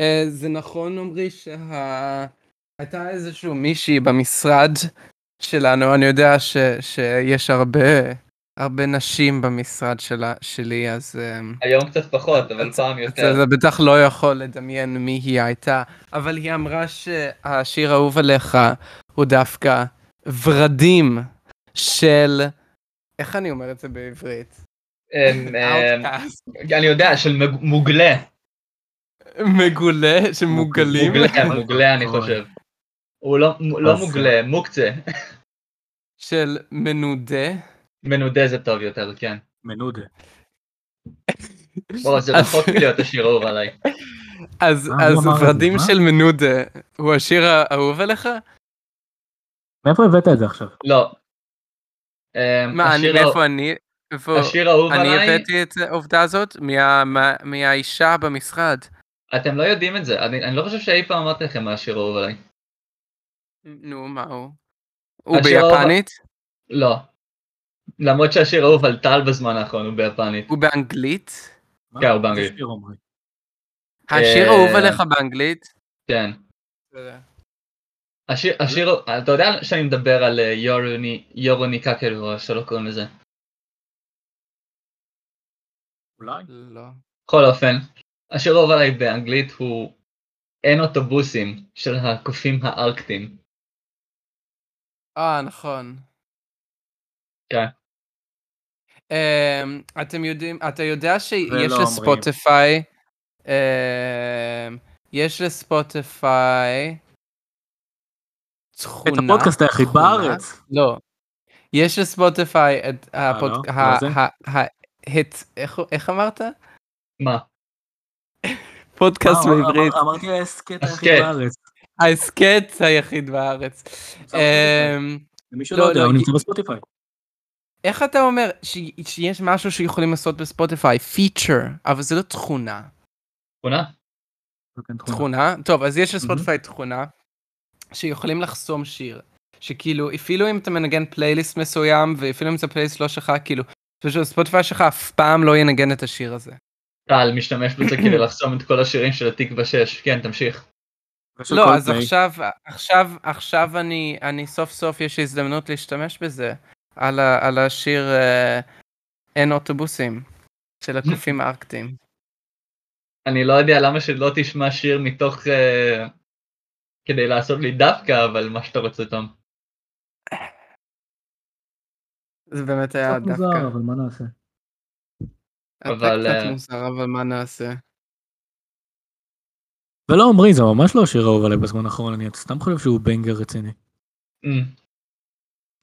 [SPEAKER 2] אה, זה נכון, עמרי, שהייתה איזשהו מישהי במשרד שלנו, אני יודע ש... שיש הרבה, הרבה נשים במשרד שלה, שלי, אז אמ,
[SPEAKER 3] היום קצת פחות, אבל
[SPEAKER 2] אז-
[SPEAKER 3] פעם
[SPEAKER 2] אתה
[SPEAKER 3] יותר.
[SPEAKER 2] אתה בטח לא יכול לדמיין מי היא הייתה, אבל היא אמרה שהשיר האהוב עליך הוא דווקא ורדים של... איך אני אומר את זה בעברית?
[SPEAKER 3] אמ, אמ,
[SPEAKER 2] Outcast.
[SPEAKER 3] אני יודע, של מג- מוגלה.
[SPEAKER 2] מגולה, שמוגלים.
[SPEAKER 3] מוגלה, מוגלה אני
[SPEAKER 1] אוי.
[SPEAKER 3] חושב. הוא לא- מ- לא
[SPEAKER 1] אז-
[SPEAKER 3] מוגלה, מוקצה.
[SPEAKER 2] של מנודה.
[SPEAKER 3] מנודה זה טוב יותר, כן.
[SPEAKER 1] מנודה.
[SPEAKER 3] בוא, זה
[SPEAKER 2] אז-
[SPEAKER 3] רחוק מלהיות השיר האהוב עליי.
[SPEAKER 2] אז
[SPEAKER 1] מה, מי
[SPEAKER 2] אז
[SPEAKER 1] אמר את זה?
[SPEAKER 2] ורדים
[SPEAKER 1] מה?
[SPEAKER 2] של מנודה הוא השיר האהוב עליך?
[SPEAKER 1] מאיפה הבאת את זה עכשיו?
[SPEAKER 3] לא. אמ,
[SPEAKER 2] מה, אני,
[SPEAKER 3] השיר הא-
[SPEAKER 2] מאיפה אני? איפה?
[SPEAKER 3] השיר האהוב
[SPEAKER 2] אני
[SPEAKER 3] עליי,
[SPEAKER 2] הבאתי את העובדה הזאת מה- מה- מהאישה במשרד.
[SPEAKER 3] אתם לא יודעים את זה, אני אני לא חושב שאי פעם אמרתי לכם מה השיר האהוב עליי.
[SPEAKER 2] נו, מה הוא? הוא
[SPEAKER 3] השיר האהוב-
[SPEAKER 2] ביפנית?
[SPEAKER 3] לא. למרות שהשיר האהוב על טל בזמן האחרון הוא ביפנית.
[SPEAKER 2] הוא באנגלית?
[SPEAKER 1] מה?
[SPEAKER 3] כן, הוא באנגלית.
[SPEAKER 1] זה שיר, עומרי.
[SPEAKER 2] השיר
[SPEAKER 3] אה,
[SPEAKER 2] אהוב עליך באנגלית?
[SPEAKER 3] כן. השיר, השיר, אתה יודע שאני מדבר על אה, יורוני, יורוני קקל או שלא קוראים לזה.
[SPEAKER 1] אולי?
[SPEAKER 2] לא.
[SPEAKER 3] בכל אופן, השיר אהוב עליי באנגלית הוא אין אוטובוסים של הקופים הארקטים.
[SPEAKER 2] אה, נכון.
[SPEAKER 3] כן.
[SPEAKER 2] אמ, אתם יודעים, אתה יודע שיש
[SPEAKER 1] ולא
[SPEAKER 2] לספוטיפיי, אמ, יש לספוטיפיי
[SPEAKER 1] את
[SPEAKER 2] תכונה,
[SPEAKER 1] הפודקאסט היחיד
[SPEAKER 2] תכונה?
[SPEAKER 1] בארץ.
[SPEAKER 2] לא, יש לספוטיפיי את
[SPEAKER 1] לא?
[SPEAKER 2] הפודקאסט,
[SPEAKER 1] לא זה?
[SPEAKER 2] איך אמרת?
[SPEAKER 3] מה?
[SPEAKER 2] פודקאסט
[SPEAKER 1] אה,
[SPEAKER 2] בעברית,
[SPEAKER 1] אמר- אמרתי ההסכת היחיד
[SPEAKER 3] הסכת.
[SPEAKER 1] בארץ.
[SPEAKER 2] ההסכת היחיד בארץ. אמ,
[SPEAKER 1] למי שלא
[SPEAKER 2] לא,
[SPEAKER 1] יודע,
[SPEAKER 2] לא,
[SPEAKER 1] הוא
[SPEAKER 2] כי-
[SPEAKER 1] נמצא בספוטיפיי.
[SPEAKER 2] איך אתה אומר ש... שיש משהו שיכולים לעשות בספוטיפיי, פיצ'ר, אבל זה לא תכונה.
[SPEAKER 3] תכונה?
[SPEAKER 1] זה כן תכונה.
[SPEAKER 2] תכונה? טוב, אז יש לספוטיפיי
[SPEAKER 1] Mm-hmm.
[SPEAKER 2] תכונה שיכולים לחסום שיר. שכאילו, אפילו אם אתה מנגן פלייליסט מסוים, ואפילו אם זה פלייליסט לא שלך, כאילו, פשוט הספוטיפיי שלך אף פעם לא ינגן את השיר הזה.
[SPEAKER 3] טל משתמש בזה כדי לחסום את כל השירים של התקווה 6. כן, תמשיך.
[SPEAKER 1] יש עוד
[SPEAKER 2] לא, אז
[SPEAKER 1] Coldplay.
[SPEAKER 2] עכשיו, עכשיו, עכשיו אני, אני סוף סוף יש לי הזדמנות להשתמש בזה, על, ה, על השיר אה, אין אוטובוסים, של הקופים הארקטיים.
[SPEAKER 3] אני לא יודע למה שלא תשמע שיר מתוך... אה, כדי לעשות לי דווקא, אבל מה שאתה רוצה, תום.
[SPEAKER 2] זה באמת היה
[SPEAKER 1] קצת מוזר,
[SPEAKER 2] דווקא.
[SPEAKER 1] אבל מה נעשה?
[SPEAKER 2] אבל...
[SPEAKER 3] אבל,
[SPEAKER 2] אתה קצת
[SPEAKER 3] אה,
[SPEAKER 2] מוזר, אבל מה נעשה?
[SPEAKER 1] ולא עמרי, זה ממש לא שיר אהוב עליי בזמן האחרון, אני סתם חושב שהוא בנגר רציני.
[SPEAKER 2] אה,
[SPEAKER 3] אמ,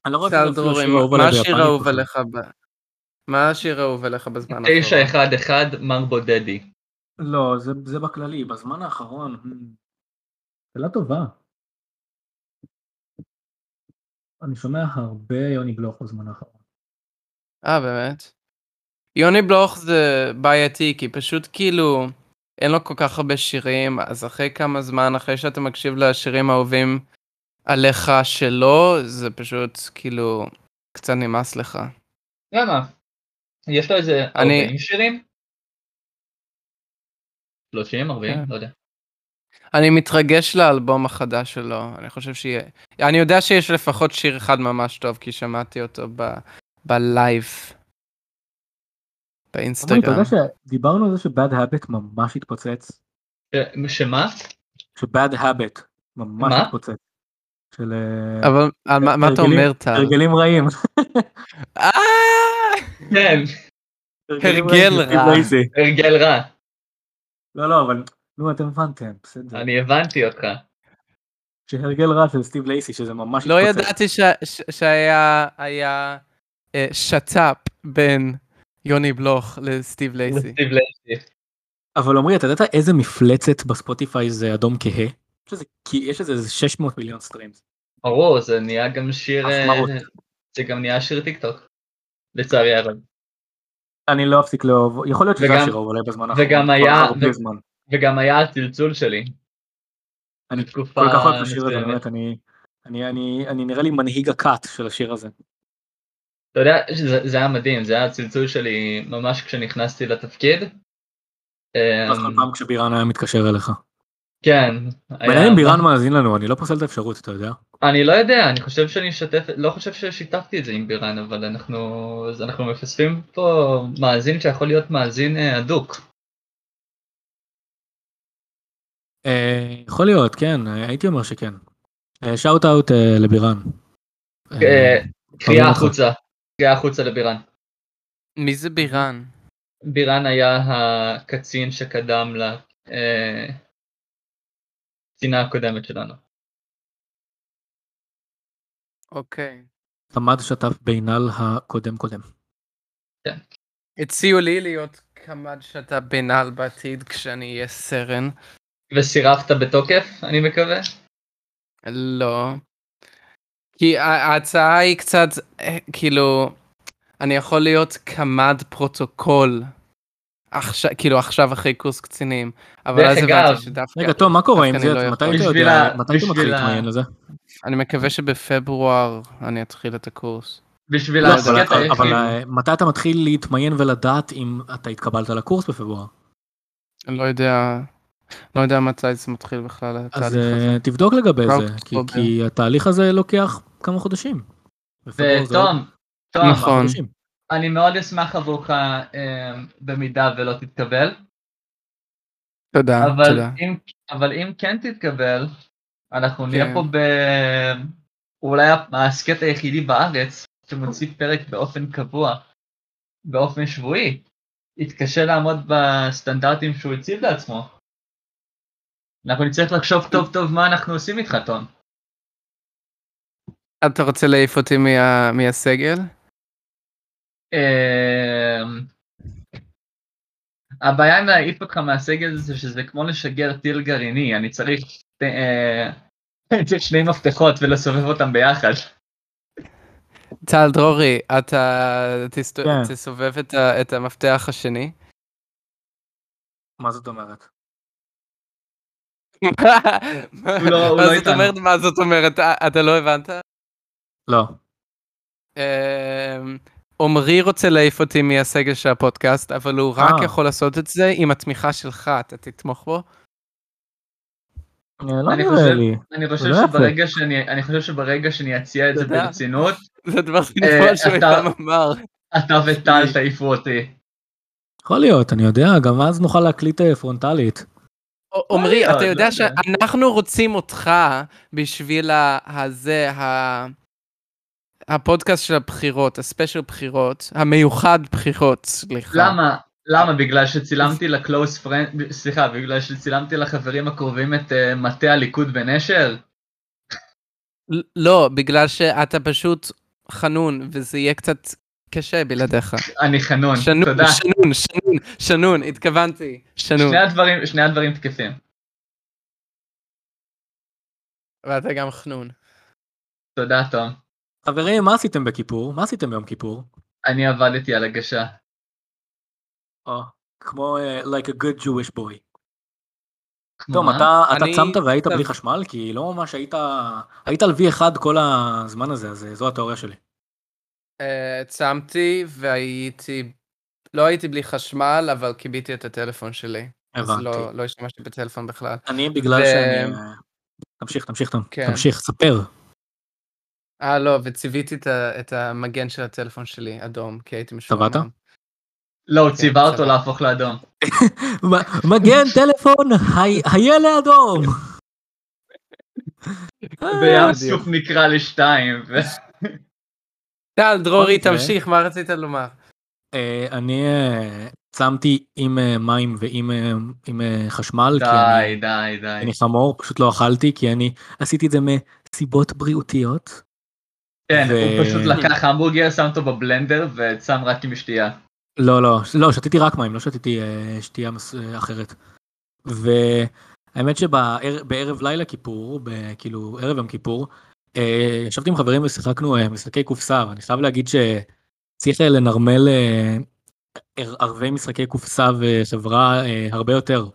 [SPEAKER 1] אני לא רואה
[SPEAKER 2] סל
[SPEAKER 1] שזה אפילו
[SPEAKER 2] דרורים,
[SPEAKER 1] שיר אהוב
[SPEAKER 2] מה
[SPEAKER 1] עליי
[SPEAKER 2] השיר
[SPEAKER 1] ביפנית
[SPEAKER 2] האהוב
[SPEAKER 1] בכלל.
[SPEAKER 2] עליך ב... מה השיר האהוב עליך בזמן האחרון?
[SPEAKER 3] 911 מר בודדי.
[SPEAKER 1] לא, זה, זה בכללי, בזמן האחרון. Hmm. שאלה טובה. אני שומע הרבה יוני גלוך בזמן האחרון.
[SPEAKER 2] אה, באמת? יוני בלוך זה בעייתי, כי פשוט כאילו, אין לו כל כך הרבה שירים, אז אחרי כמה זמן, אחרי שאתה מקשיב לשירים האהובים עליך שלו, זה פשוט כאילו, קצת נמאס לך.
[SPEAKER 3] למה? יש לו איזה
[SPEAKER 2] אני-
[SPEAKER 3] 40 שירים? 30? 40?
[SPEAKER 2] כן.
[SPEAKER 3] לא יודע.
[SPEAKER 2] אני מתרגש לאלבום החדש שלו, אני חושב שיהיה... אני יודע שיש לפחות שיר אחד ממש טוב, כי שמעתי אותו ב... בלייב.
[SPEAKER 1] אבל אתה
[SPEAKER 2] באינסטגרם.
[SPEAKER 1] יודע שדיברנו על זה שבאד האבט ממש התפוצץ?
[SPEAKER 3] ש- שמה?
[SPEAKER 1] שבאד האבט ממש
[SPEAKER 3] מה?
[SPEAKER 1] התפוצץ. של אה,
[SPEAKER 2] אבל על מה, מה אתה
[SPEAKER 1] הרגלים-
[SPEAKER 2] אומר, טל?
[SPEAKER 1] הרגלים רעים.
[SPEAKER 2] אה!
[SPEAKER 3] כן,
[SPEAKER 1] הרגלים רעים,
[SPEAKER 2] הרגל רע.
[SPEAKER 1] Steve Lacy.
[SPEAKER 3] הרגל רע.
[SPEAKER 1] לא, לא, אבל... נו, אתם הבנתם, בסדר.
[SPEAKER 3] אני הבנתי אותך.
[SPEAKER 1] שהרגל רע של סטיב לייסי, שזה ממש
[SPEAKER 2] לא
[SPEAKER 1] התפוצץ.
[SPEAKER 2] ידעתי ש... ש... שהיה היה, אה, שת"פ בין יוני בלוך לסטיב לייסי.
[SPEAKER 3] סטיב לייסי.
[SPEAKER 1] אבל עמרי, אתה ידעת איזה מפלצת בספוטיפיי זה אדום כהה? יש איזה- כי יש איזה איזה 600 מיליון סטרימס.
[SPEAKER 3] ברור, זה נהיה גם שיר... אה,
[SPEAKER 1] החמרות.
[SPEAKER 3] זה גם נהיה שיר טיק טוק. לצערי הרב.
[SPEAKER 1] אני לא אפסיק לאהוב, יכול להיות שזה
[SPEAKER 3] וגם-
[SPEAKER 1] השיר אולי בזמן
[SPEAKER 3] וגם
[SPEAKER 1] כבר
[SPEAKER 3] היה-
[SPEAKER 1] הרבה
[SPEAKER 3] ו-
[SPEAKER 1] זמן.
[SPEAKER 3] וגם היה הצלצול שלי.
[SPEAKER 1] אני
[SPEAKER 3] בתקופה
[SPEAKER 1] כל כך אוהב את השיר הזה,
[SPEAKER 3] מסוימת.
[SPEAKER 1] באמת, אני... אני, אני, אני נראה לי מנהיג הכת של השיר הזה.
[SPEAKER 3] אתה יודע, שזה- זה היה מדהים, זה היה הצלצול שלי ממש כשנכנסתי לתפקיד. אה,
[SPEAKER 1] אז כל פעם כשבירן היה מתקשר אליך.
[SPEAKER 3] כן.
[SPEAKER 1] מעניין
[SPEAKER 3] היה-
[SPEAKER 1] אם בירן מאזין לנו, אני לא פוסל את האפשרות, אתה יודע?
[SPEAKER 3] אני לא יודע, אני חושב שאני אשתף, לא חושב ששיתפתי את זה עם בירן, אבל אנחנו, אז אנחנו מפספים פה מאזין שיכול להיות מאזין אה, הדוק.
[SPEAKER 1] אה, יכול להיות, כן, אה, הייתי אומר שכן. אה, שאוט אאוט לבירן. אה,
[SPEAKER 3] אה,
[SPEAKER 1] אוהבים
[SPEAKER 3] קריאה
[SPEAKER 1] אותך.
[SPEAKER 3] החוצה, קריאה החוצה לבירן.
[SPEAKER 2] מי זה בירן?
[SPEAKER 3] בירן היה הקצין שקדם לקצינה הקודמת שלנו.
[SPEAKER 2] אוקיי.
[SPEAKER 1] תמד שתף בינל הקודם קודם.
[SPEAKER 2] הציעו לי להיות קמ"ד שאתה בינל בעתיד כשאני אהיה סרן.
[SPEAKER 3] וסירבת בתוקף, אני מקווה?
[SPEAKER 2] לא. כי ה- ההצעה היא קצת, אה, כאילו, אני יכול להיות קמ"ד פרוטוקול. עכשיו, כאילו עכשיו אחרי קורס קצינים. אבל
[SPEAKER 3] דרך
[SPEAKER 2] אז
[SPEAKER 3] אגב-
[SPEAKER 2] הבנתי שדווקא,
[SPEAKER 1] רגע, תום, מה קורה עם
[SPEAKER 2] דווקא אני
[SPEAKER 1] זה?
[SPEAKER 2] לא
[SPEAKER 1] מתי
[SPEAKER 2] יכול.
[SPEAKER 1] אתה
[SPEAKER 3] בשביל
[SPEAKER 1] יודע?
[SPEAKER 3] ה-
[SPEAKER 1] מתי אתה מתחיל
[SPEAKER 3] בשביל ה-
[SPEAKER 1] להתמיין לזה?
[SPEAKER 2] אני מקווה שבפברואר אני אתחיל את הקורס.
[SPEAKER 3] בשביל
[SPEAKER 1] לא, אבל-
[SPEAKER 3] ההסכת
[SPEAKER 1] אבל- אבל
[SPEAKER 3] היחיד,
[SPEAKER 1] אה, מתי אתה מתחיל להתמיין ולדעת אם אתה התקבלת לקורס בפברואר?
[SPEAKER 2] אני לא יודע, לא יודע מתי זה מתחיל בכלל,
[SPEAKER 1] אז
[SPEAKER 2] התהליך הזה. לא,
[SPEAKER 1] אה, תבדוק לגבי זה,
[SPEAKER 2] Route
[SPEAKER 1] כי-
[SPEAKER 2] Robber.
[SPEAKER 1] כי התהליך הזה לוקח כמה חודשים. בפברואר זה עוד
[SPEAKER 3] ותום, תום,
[SPEAKER 1] כמה
[SPEAKER 2] נכון.
[SPEAKER 1] חודשים.
[SPEAKER 3] אני מאוד אשמח עבורך אה, במידה ולא תתקבל,
[SPEAKER 2] תודה,
[SPEAKER 3] אבל
[SPEAKER 2] תודה.
[SPEAKER 3] אם, אבל אם כן תתקבל, אנחנו
[SPEAKER 2] כן.
[SPEAKER 3] נהיה פה ב... אולי ההסכת היחידי בארץ שמוציא פרק באופן קבוע, באופן שבועי, יתקשה לעמוד בסטנדרטים שהוא הציב לעצמו. אנחנו נצטרך לחשוב טוב טוב מה אנחנו עושים איתך, תום.
[SPEAKER 2] אתה רוצה להעיף אותי מה- מהסגל?
[SPEAKER 3] אמ, הבעיה עם להעיף אותך מהסגל זה שזה כמו לשגר טיל גרעיני, אני צריך שתי- אה, אני צריך שני מפתחות ולסובב אותם ביחד.
[SPEAKER 2] טל דרורי, אתה תסת-
[SPEAKER 1] כן.
[SPEAKER 2] תסובב את ה- את המפתח השני.
[SPEAKER 1] מה זאת אומרת?
[SPEAKER 2] מה
[SPEAKER 3] הוא לא- הוא לא
[SPEAKER 2] מה זאת
[SPEAKER 3] איתנו.
[SPEAKER 2] אומרת? מה זאת אומרת? אה, אתה לא הבנת?
[SPEAKER 1] לא.
[SPEAKER 2] אמ, עמרי רוצה להעיף אותי מהסגל של הפודקאסט, אבל הוא רק
[SPEAKER 1] אה.
[SPEAKER 2] יכול לעשות את זה עם התמיכה שלך, אתה תתמוך בו?
[SPEAKER 1] אה, לא
[SPEAKER 3] אני
[SPEAKER 1] נראה
[SPEAKER 3] חושב-
[SPEAKER 1] לי.
[SPEAKER 3] אני חושב
[SPEAKER 1] לא יפה.
[SPEAKER 3] שברגע שאני, אני חושב שברגע שאני אציע את זה
[SPEAKER 2] תודה.
[SPEAKER 3] ברצינות,
[SPEAKER 2] זה הדבר הכי
[SPEAKER 3] אה,
[SPEAKER 2] נפלא שהוא אי
[SPEAKER 3] אתה-
[SPEAKER 2] פעם אמר.
[SPEAKER 3] אתה וטל תעיפו אותי.
[SPEAKER 1] יכול להיות, אני יודע, גם אז נוכל להקליט אה, פרונטלית.
[SPEAKER 2] עמרי,
[SPEAKER 3] להיות,
[SPEAKER 2] אתה
[SPEAKER 3] לא
[SPEAKER 2] יודע
[SPEAKER 3] יודע.
[SPEAKER 2] שאנחנו רוצים אותך בשביל ה- הזה, ה- הפודקאסט של הבחירות, הספיישל בחירות, המיוחד בחירות, סליחה.
[SPEAKER 3] למה? למה? בגלל שצילמתי לקלוס פרנד, סליחה, בגלל שצילמתי לחברים הקרובים את אה, מטה הליכוד בנשר?
[SPEAKER 2] ל- לא, בגלל שאתה פשוט חנון, וזה יהיה קצת קשה בלעדיך.
[SPEAKER 3] אני חנון,
[SPEAKER 1] נכון,
[SPEAKER 2] שנון,
[SPEAKER 3] תודה.
[SPEAKER 2] שנון, שנון, שנון, התכוונתי, שנון.
[SPEAKER 3] שני הדברים, שני הדברים תקפים.
[SPEAKER 2] ואתה גם חנון.
[SPEAKER 3] תודה, תום.
[SPEAKER 1] חברים, מה עשיתם בכיפור? מה עשיתם ביום כיפור?
[SPEAKER 3] אני עבדתי על הגשה.
[SPEAKER 1] או, כמו אה, like a good Jewish boy.
[SPEAKER 3] כמו
[SPEAKER 1] תום,
[SPEAKER 3] מה?
[SPEAKER 1] אתה, אתה
[SPEAKER 2] אני-
[SPEAKER 1] צמת והיית
[SPEAKER 2] טוב.
[SPEAKER 1] בלי חשמל? כי לא ממש היית... היית על V1 כל הזמן הזה, אז אה, זו התיאוריה שלי.
[SPEAKER 2] אה, צמתי והייתי, לא הייתי בלי חשמל, אבל כיביתי את הטלפון שלי. אז
[SPEAKER 1] הבנתי.
[SPEAKER 2] לא- לא השתמשתי בטלפון בכלל.
[SPEAKER 1] אני בגלל
[SPEAKER 2] ו-
[SPEAKER 1] שאני... אה, תמשיך, תמשיך, תום.
[SPEAKER 2] כן.
[SPEAKER 1] תמשיך, ספר.
[SPEAKER 2] אה, לא, וציוויתי את ה- את המגן של הטלפון שלי, אדום, כי הייתי משועמם.
[SPEAKER 1] צבעת?
[SPEAKER 3] לא, הוא ציווה
[SPEAKER 2] סבבה.
[SPEAKER 3] אותו להפוך לאדום.
[SPEAKER 1] מ- מגן טלפון, הי- היה לאדום.
[SPEAKER 3] וים
[SPEAKER 2] בדיוק.
[SPEAKER 3] סוף נקרא לשתיים. ו-
[SPEAKER 2] טל, דרורי,
[SPEAKER 1] מקרה-
[SPEAKER 2] תמשיך, מה רצית לומר?
[SPEAKER 1] אה, אני אה, צמתי עם אה, מים ועם אה, עם, אה, חשמל, כי אני
[SPEAKER 3] די, די, די.
[SPEAKER 1] אני חמור, פשוט לא אכלתי, כי אני עשיתי את זה מסיבות בריאותיות.
[SPEAKER 3] כן,
[SPEAKER 1] ו-
[SPEAKER 3] הוא פשוט לקח המבורגר, שם אותו בבלנדר וצם רק עם שתייה.
[SPEAKER 1] לא, לא, ש- לא, שתיתי רק מים, לא שתיתי אה, שתייה מס- אה, אחרת. והאמת שבערב לילה כיפור, ב- כאילו ערב יום כיפור, אה, ישבתי עם חברים ושיחקנו אה, משחקי קופסה, ואני חייב להגיד שצריך אה, לנרמל אה, ער- ערבי משחקי קופסה וחברה אה, הרבה יותר.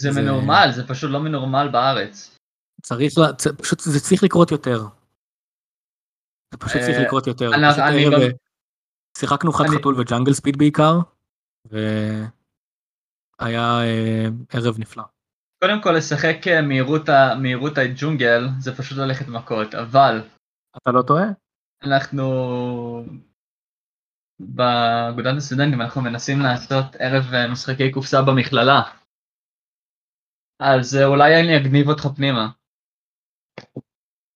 [SPEAKER 3] זה
[SPEAKER 1] זה-
[SPEAKER 3] מנורמל, זה פשוט לא מנורמל בארץ.
[SPEAKER 1] צריך, לה- צ- פשוט זה צריך לקרות יותר. זה פשוט צריך
[SPEAKER 3] אה,
[SPEAKER 1] לקרות יותר.
[SPEAKER 3] אני-
[SPEAKER 1] פשוט
[SPEAKER 3] אני
[SPEAKER 1] ערב,
[SPEAKER 3] גם-
[SPEAKER 1] אה, שיחקנו חד
[SPEAKER 3] אני-
[SPEAKER 1] חתול וג'אנגל ספיד בעיקר, והיה אה, ערב נפלא.
[SPEAKER 3] קודם כל, לשחק אה, מהירות ה- מהירות הג'ונגל זה פשוט ללכת מכות, אבל
[SPEAKER 1] אתה לא טועה?
[SPEAKER 3] אנחנו באגודת הסטודנטים אנחנו מנסים לעשות ערב אה, משחקי קופסה במכללה. אז אה, אולי אני אגניב אותך פנימה.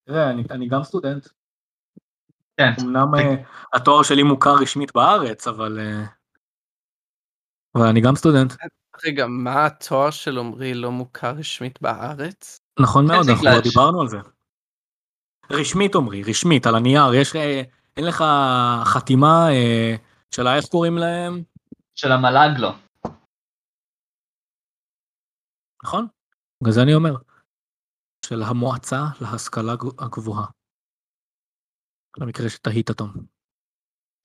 [SPEAKER 1] תראה, אני, אני גם סטודנט.
[SPEAKER 3] כן.
[SPEAKER 1] אמנם אה, התואר שלי מוכר רשמית בארץ, אבל... אה, אבל אני גם סטודנט.
[SPEAKER 2] רגע, מה התואר של עמרי לא מוכר רשמית בארץ?
[SPEAKER 1] נכון מאוד,
[SPEAKER 3] חצי
[SPEAKER 1] אנחנו כבר
[SPEAKER 3] קלאץ'.
[SPEAKER 1] דיברנו על זה. רשמית עמרי, רשמית, על הנייר, יש... אה, אין לך חתימה אה, של ה- איך קוראים להם?
[SPEAKER 3] של המל"ג לא.
[SPEAKER 1] נכון? בגלל זה אני אומר. של המועצה להשכלה גו- הגבוהה. למקרה שתהית תום.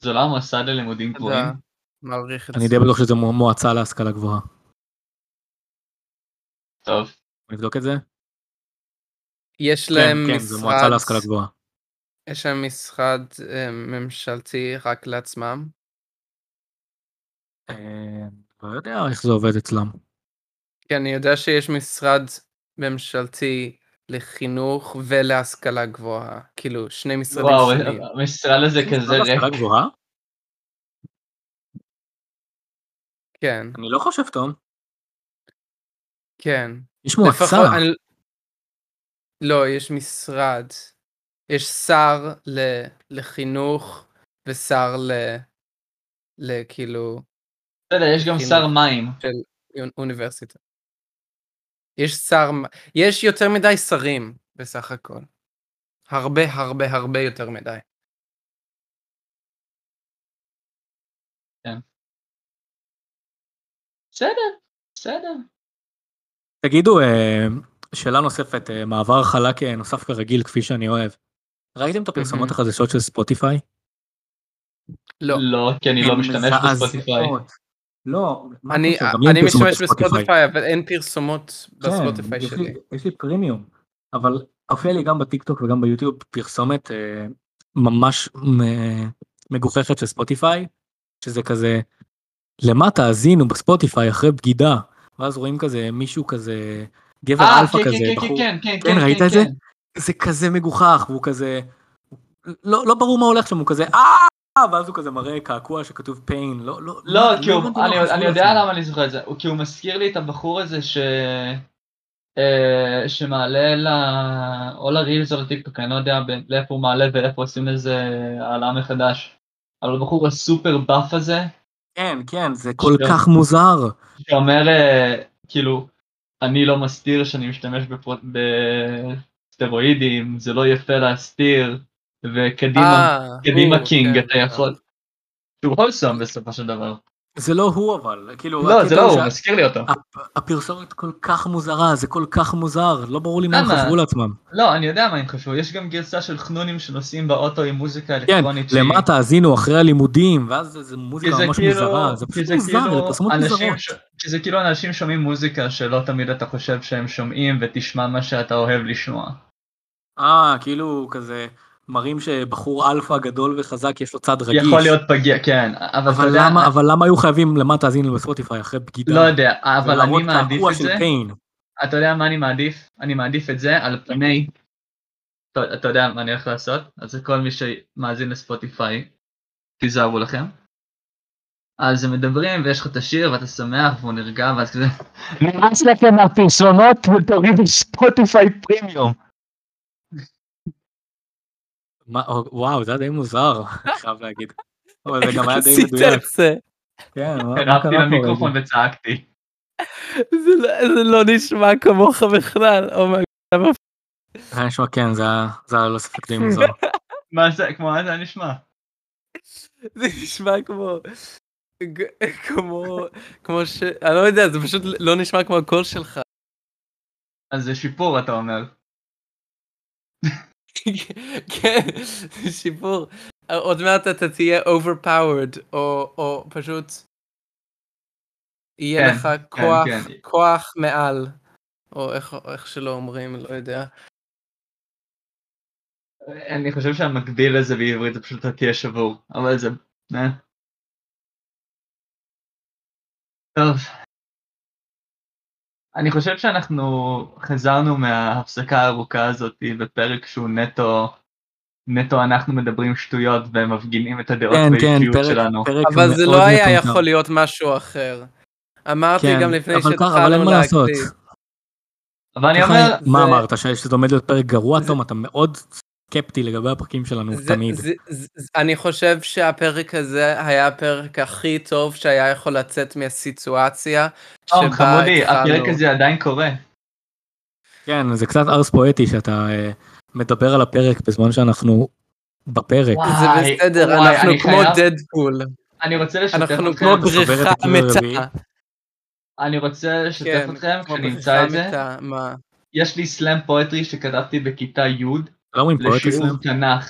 [SPEAKER 3] זה לא המוסד ללימודים גבוהים.
[SPEAKER 2] אתה מעריך את
[SPEAKER 1] אני די
[SPEAKER 2] זה.
[SPEAKER 1] בטוח שזה מוע- מועצה להשכלה גבוהה.
[SPEAKER 3] טוב.
[SPEAKER 1] נבדוק את זה?
[SPEAKER 2] יש
[SPEAKER 1] כן,
[SPEAKER 2] להם
[SPEAKER 1] כן, זה מועצה להשכלה
[SPEAKER 2] משרד
[SPEAKER 1] גבוהה.
[SPEAKER 2] יש להם משרד אה, ממשלתי רק לעצמם.
[SPEAKER 1] אה, לא יודע איך זה עובד אצלם.
[SPEAKER 2] כי אני יודע שיש משרד ממשלתי לחינוך ולהשכלה גבוהה, כאילו שני משרדים
[SPEAKER 3] וואו, אה,
[SPEAKER 2] שונים.
[SPEAKER 3] המשרד הזה כזה
[SPEAKER 1] לא
[SPEAKER 3] ריק.
[SPEAKER 1] להשכלה גבוהה?
[SPEAKER 2] כן,
[SPEAKER 1] אני לא חושב תום.
[SPEAKER 2] כן.
[SPEAKER 1] יש מועצה.
[SPEAKER 2] לפחות- אני... לא, יש משרד. יש שר ל... לחינוך ושר ל... כאילו, לכאילו
[SPEAKER 3] בסדר, יש גם
[SPEAKER 1] כאילו-
[SPEAKER 2] חינוך.
[SPEAKER 3] שר מים.
[SPEAKER 2] אונ- אוניברסיטה. יש שר, מ- יש יותר מדי שרים בסך הכל. הרבה הרבה הרבה יותר מדי.
[SPEAKER 3] בסדר, בסדר.
[SPEAKER 1] תגידו, אה, שאלה נוספת, אה, מעבר חלק אה, נוסף כרגיל, כפי שאני אוהב. ראיתם את הפרסומות
[SPEAKER 2] מהמם.
[SPEAKER 1] החדשות של ספוטיפיי?
[SPEAKER 2] לא.
[SPEAKER 3] לא, כי אני לא
[SPEAKER 1] הן
[SPEAKER 3] משתמש
[SPEAKER 1] מזעזעות.
[SPEAKER 3] בספוטיפיי.
[SPEAKER 1] לא, מה
[SPEAKER 2] אני,
[SPEAKER 1] הקשר? גם לי אין
[SPEAKER 2] אני
[SPEAKER 1] פרסומות
[SPEAKER 2] משתמש בספוטיפיי אבל אין פרסומות
[SPEAKER 1] כן,
[SPEAKER 2] בספוטיפיי
[SPEAKER 1] יש
[SPEAKER 2] שלי.
[SPEAKER 1] לי- יש לי פרימיום, אבל הופיע לי גם בטיקטוק וגם ביוטיוב פרסומת אה, ממש מ- מגוחכת של ספוטיפיי, שזה כזה, למה תאזינו בספוטיפיי אחרי בגידה, ואז רואים כזה מישהו כזה, גבר
[SPEAKER 3] אה,
[SPEAKER 1] אלפא
[SPEAKER 3] כן, כן,
[SPEAKER 1] כזה,
[SPEAKER 3] כן,
[SPEAKER 1] בחור,
[SPEAKER 3] כן, כן,
[SPEAKER 1] כן,
[SPEAKER 3] כן,
[SPEAKER 1] ראית
[SPEAKER 3] כן,
[SPEAKER 1] את זה?
[SPEAKER 3] כן.
[SPEAKER 1] זה כזה מגוחך, והוא כזה, לא לא ברור מה הולך שם, הוא כזה, אה, ואז הוא כזה מראה קעקוע שכתוב pain, לא, לא,
[SPEAKER 3] לא,
[SPEAKER 1] מה-
[SPEAKER 3] כי הוא-
[SPEAKER 1] הבנתי מה
[SPEAKER 3] אני-
[SPEAKER 1] חשבו
[SPEAKER 3] אני יודע
[SPEAKER 1] לעצמם.
[SPEAKER 3] למה אני זוכר את זה, הוא- כי הוא מזכיר לי את הבחור הזה ש... אה, שמעלה ל... או לרילס או לטיקטוק, אני לא יודע ב- לאיפה הוא מעלה ולאיפה עושים לזה העלאה מחדש. אבל הבחור הסופר באף הזה,
[SPEAKER 1] כן, כן, זה כל
[SPEAKER 3] שגם-
[SPEAKER 1] כך מוזר.
[SPEAKER 3] שאומר אה, כאילו, אני לא מסתיר שאני משתמש בפרו- בסטרואידים, זה לא יפה להסתיר, וקדימה,
[SPEAKER 2] אה,
[SPEAKER 3] קדימה
[SPEAKER 2] הוא,
[SPEAKER 3] קינג,
[SPEAKER 2] כן.
[SPEAKER 3] אתה יכול. שהוא הולסום בסופו של דבר.
[SPEAKER 1] זה לא הוא אבל, כאילו,
[SPEAKER 3] לא,
[SPEAKER 1] הקטע
[SPEAKER 3] זה לא
[SPEAKER 1] הוא
[SPEAKER 3] הוא,
[SPEAKER 1] שה-
[SPEAKER 3] מזכיר לי אותו.
[SPEAKER 1] הפרסומת כל כך מוזרה, זה כל כך מוזר, לא ברור לי מה הם
[SPEAKER 3] למה?
[SPEAKER 1] חשבו לעצמם.
[SPEAKER 3] לא, אני יודע מה הם חשבו, יש גם גרסה של חנונים שנוסעים באוטו עם מוזיקה
[SPEAKER 1] כן,
[SPEAKER 3] אלקטרונית. שהיא-
[SPEAKER 1] למה תאזינו אחרי הלימודים, ואז זה- זה
[SPEAKER 3] כי
[SPEAKER 1] מוזיקה
[SPEAKER 3] זה
[SPEAKER 1] ממש
[SPEAKER 3] כאילו-
[SPEAKER 1] מוזרה, זה
[SPEAKER 3] כי
[SPEAKER 1] פשוט
[SPEAKER 3] זה
[SPEAKER 1] מוזר,
[SPEAKER 3] כאילו
[SPEAKER 1] זה פרסומות
[SPEAKER 3] אנשים
[SPEAKER 1] מוזרות.
[SPEAKER 3] ש- כי זה כאילו אנשים שומעים מוזיקה שלא תמיד אתה חושב שהם שומעים ותשמע מה שאתה אוהב לשמוע.
[SPEAKER 1] אה, כאילו כזה מראים שבחור אלפא גדול וחזק יש לו צד רגיש.
[SPEAKER 3] יכול להיות פגיע, כן, אבל אתה
[SPEAKER 1] אבל
[SPEAKER 3] יודע,
[SPEAKER 1] למה, אבל למה היו חייבים למה תאזינו בספוטיפיי אחרי בגידה?
[SPEAKER 3] לא יודע, אבל
[SPEAKER 1] ולהראות
[SPEAKER 3] אני מעדיף
[SPEAKER 1] קעקוע
[SPEAKER 3] את
[SPEAKER 1] של
[SPEAKER 3] זה,
[SPEAKER 1] פיין.
[SPEAKER 3] אתה יודע מה אני מעדיף? אני מעדיף את זה על פני, אתה אתה יודע מה אני הולך לעשות? אז כל מי שמאזין לספוטיפיי, תיזהרו לכם. אז הם מדברים ויש לך את השיר ואתה שמח והוא נרגע ואז כזה, נמאס לכם מהפרסומות ותורידו ספוטיפיי פרימיום.
[SPEAKER 1] מה- וואו, זה היה די מוזר, אני חייב להגיד. אבל זה גם היה די
[SPEAKER 2] עשית
[SPEAKER 1] מדויק.
[SPEAKER 2] את זה.
[SPEAKER 1] כן, מה- מה
[SPEAKER 3] הרמתי
[SPEAKER 1] קרה פה? רגע?
[SPEAKER 3] למיקרופון וצעקתי.
[SPEAKER 2] זה לא- זה לא נשמע כמוך בכלל, Oh אומייג.
[SPEAKER 1] היה נשמע כן, זה היה- זה היה ללא ספק די מוזר.
[SPEAKER 3] מה זה, כמו מה זה היה נשמע?
[SPEAKER 2] זה נשמע כמו... ג- כמו... כמו ש... אני לא יודע, זה פשוט לא נשמע כמו הקול שלך.
[SPEAKER 3] אז זה שיפור אתה אומר.
[SPEAKER 2] כן, זה שיפור. עוד מעט אתה תהיה overpowered, או, או פשוט... יהיה
[SPEAKER 3] כן,
[SPEAKER 2] לך כוח,
[SPEAKER 3] כן.
[SPEAKER 2] כוח מעל, או איך, איך שלא אומרים, לא יודע.
[SPEAKER 3] אני חושב שהמקביל לזה בעברית זה פשוט אתה תהיה שבור, אבל זה... אה. טוב. אני חושב שאנחנו חזרנו מההפסקה הארוכה הזאת בפרק שהוא נטו, נטו אנחנו מדברים שטויות ומפגינים את הדעות
[SPEAKER 1] כן, כן,
[SPEAKER 3] והאישיות
[SPEAKER 1] פרק,
[SPEAKER 3] שלנו.
[SPEAKER 1] פרק
[SPEAKER 2] אבל זה
[SPEAKER 1] מאוד
[SPEAKER 2] לא היה
[SPEAKER 1] מטומטם.
[SPEAKER 2] יכול להיות משהו אחר. אמרתי
[SPEAKER 1] כן,
[SPEAKER 2] גם לפני
[SPEAKER 1] אבל ככה, אבל אין
[SPEAKER 2] שהתחלנו
[SPEAKER 1] מה לעשות.
[SPEAKER 2] להקליט.
[SPEAKER 3] אבל אני
[SPEAKER 1] ככה,
[SPEAKER 3] אומר,
[SPEAKER 1] מה
[SPEAKER 2] זה-
[SPEAKER 1] אמרת, ש- שזה עומד להיות פרק גרוע,
[SPEAKER 2] זה-
[SPEAKER 1] תום? אתה מאוד סקפטי לגבי הפרקים שלנו,
[SPEAKER 2] זה-
[SPEAKER 1] תמיד.
[SPEAKER 2] זה- זה- זה- אני חושב שהפרק הזה היה הפרק הכי טוב שהיה יכול לצאת מהסיטואציה
[SPEAKER 3] תום
[SPEAKER 2] שבה
[SPEAKER 3] חמודי, הפרק
[SPEAKER 2] התחלנו.
[SPEAKER 3] הזה עדיין קורה.
[SPEAKER 1] כן, זה קצת ארס פואטי שאתה אה, מדבר על הפרק בזמן שאנחנו בפרק.
[SPEAKER 3] וואו.
[SPEAKER 2] זה
[SPEAKER 3] וואי,
[SPEAKER 2] בסדר,
[SPEAKER 3] וואי,
[SPEAKER 2] אנחנו
[SPEAKER 3] אני
[SPEAKER 2] כמו
[SPEAKER 3] חייב-
[SPEAKER 2] דדפול,
[SPEAKER 3] אני רוצה לשתף אתכם.
[SPEAKER 2] אנחנו כמו
[SPEAKER 1] שובר את
[SPEAKER 2] בריכה
[SPEAKER 1] הכלי הרביעי.
[SPEAKER 2] מתה.
[SPEAKER 3] אני רוצה לשתף
[SPEAKER 2] כן,
[SPEAKER 3] אתכם,
[SPEAKER 2] כמו
[SPEAKER 3] כשנמצא את זה,
[SPEAKER 2] מתה, מה?
[SPEAKER 3] יש לי סלאם פואטרי שכתבתי בכיתה י'
[SPEAKER 1] לא אומרים פואטי
[SPEAKER 3] לשיעור
[SPEAKER 1] סלאם?
[SPEAKER 3] תנ"ך.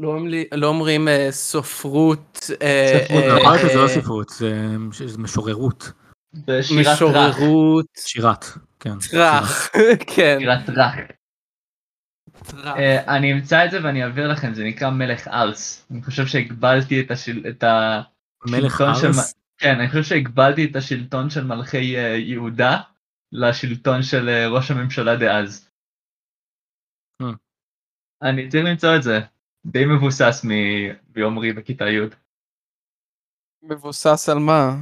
[SPEAKER 2] לא אומרים- לא אומרים אה, ספרות, אה,
[SPEAKER 3] ספרות,
[SPEAKER 2] אה,
[SPEAKER 1] לא, פואטי זה לא
[SPEAKER 2] אה,
[SPEAKER 1] ספרות, זה זה משוררות,
[SPEAKER 3] בשירת רך.
[SPEAKER 2] משוררות,
[SPEAKER 1] שירת. כן.
[SPEAKER 2] טראח, כן,
[SPEAKER 3] שירת רך.
[SPEAKER 2] טראח.
[SPEAKER 3] אה, אני אמצא את זה ואני אעביר לכם, זה נקרא מלך ארס. אני חושב שהגבלתי את השל- את ה...
[SPEAKER 1] מלך
[SPEAKER 3] שלטון של
[SPEAKER 1] ארס?
[SPEAKER 3] כן, אני חושב שהגבלתי את השלטון של מלכי אה, יהודה לשלטון של אה, ראש הממשלה דאז.
[SPEAKER 2] אה.
[SPEAKER 1] Hmm.
[SPEAKER 3] אני צריך למצוא את זה. די מבוסס מ- מעומרי בכיתה י'.
[SPEAKER 4] מבוסס על מה?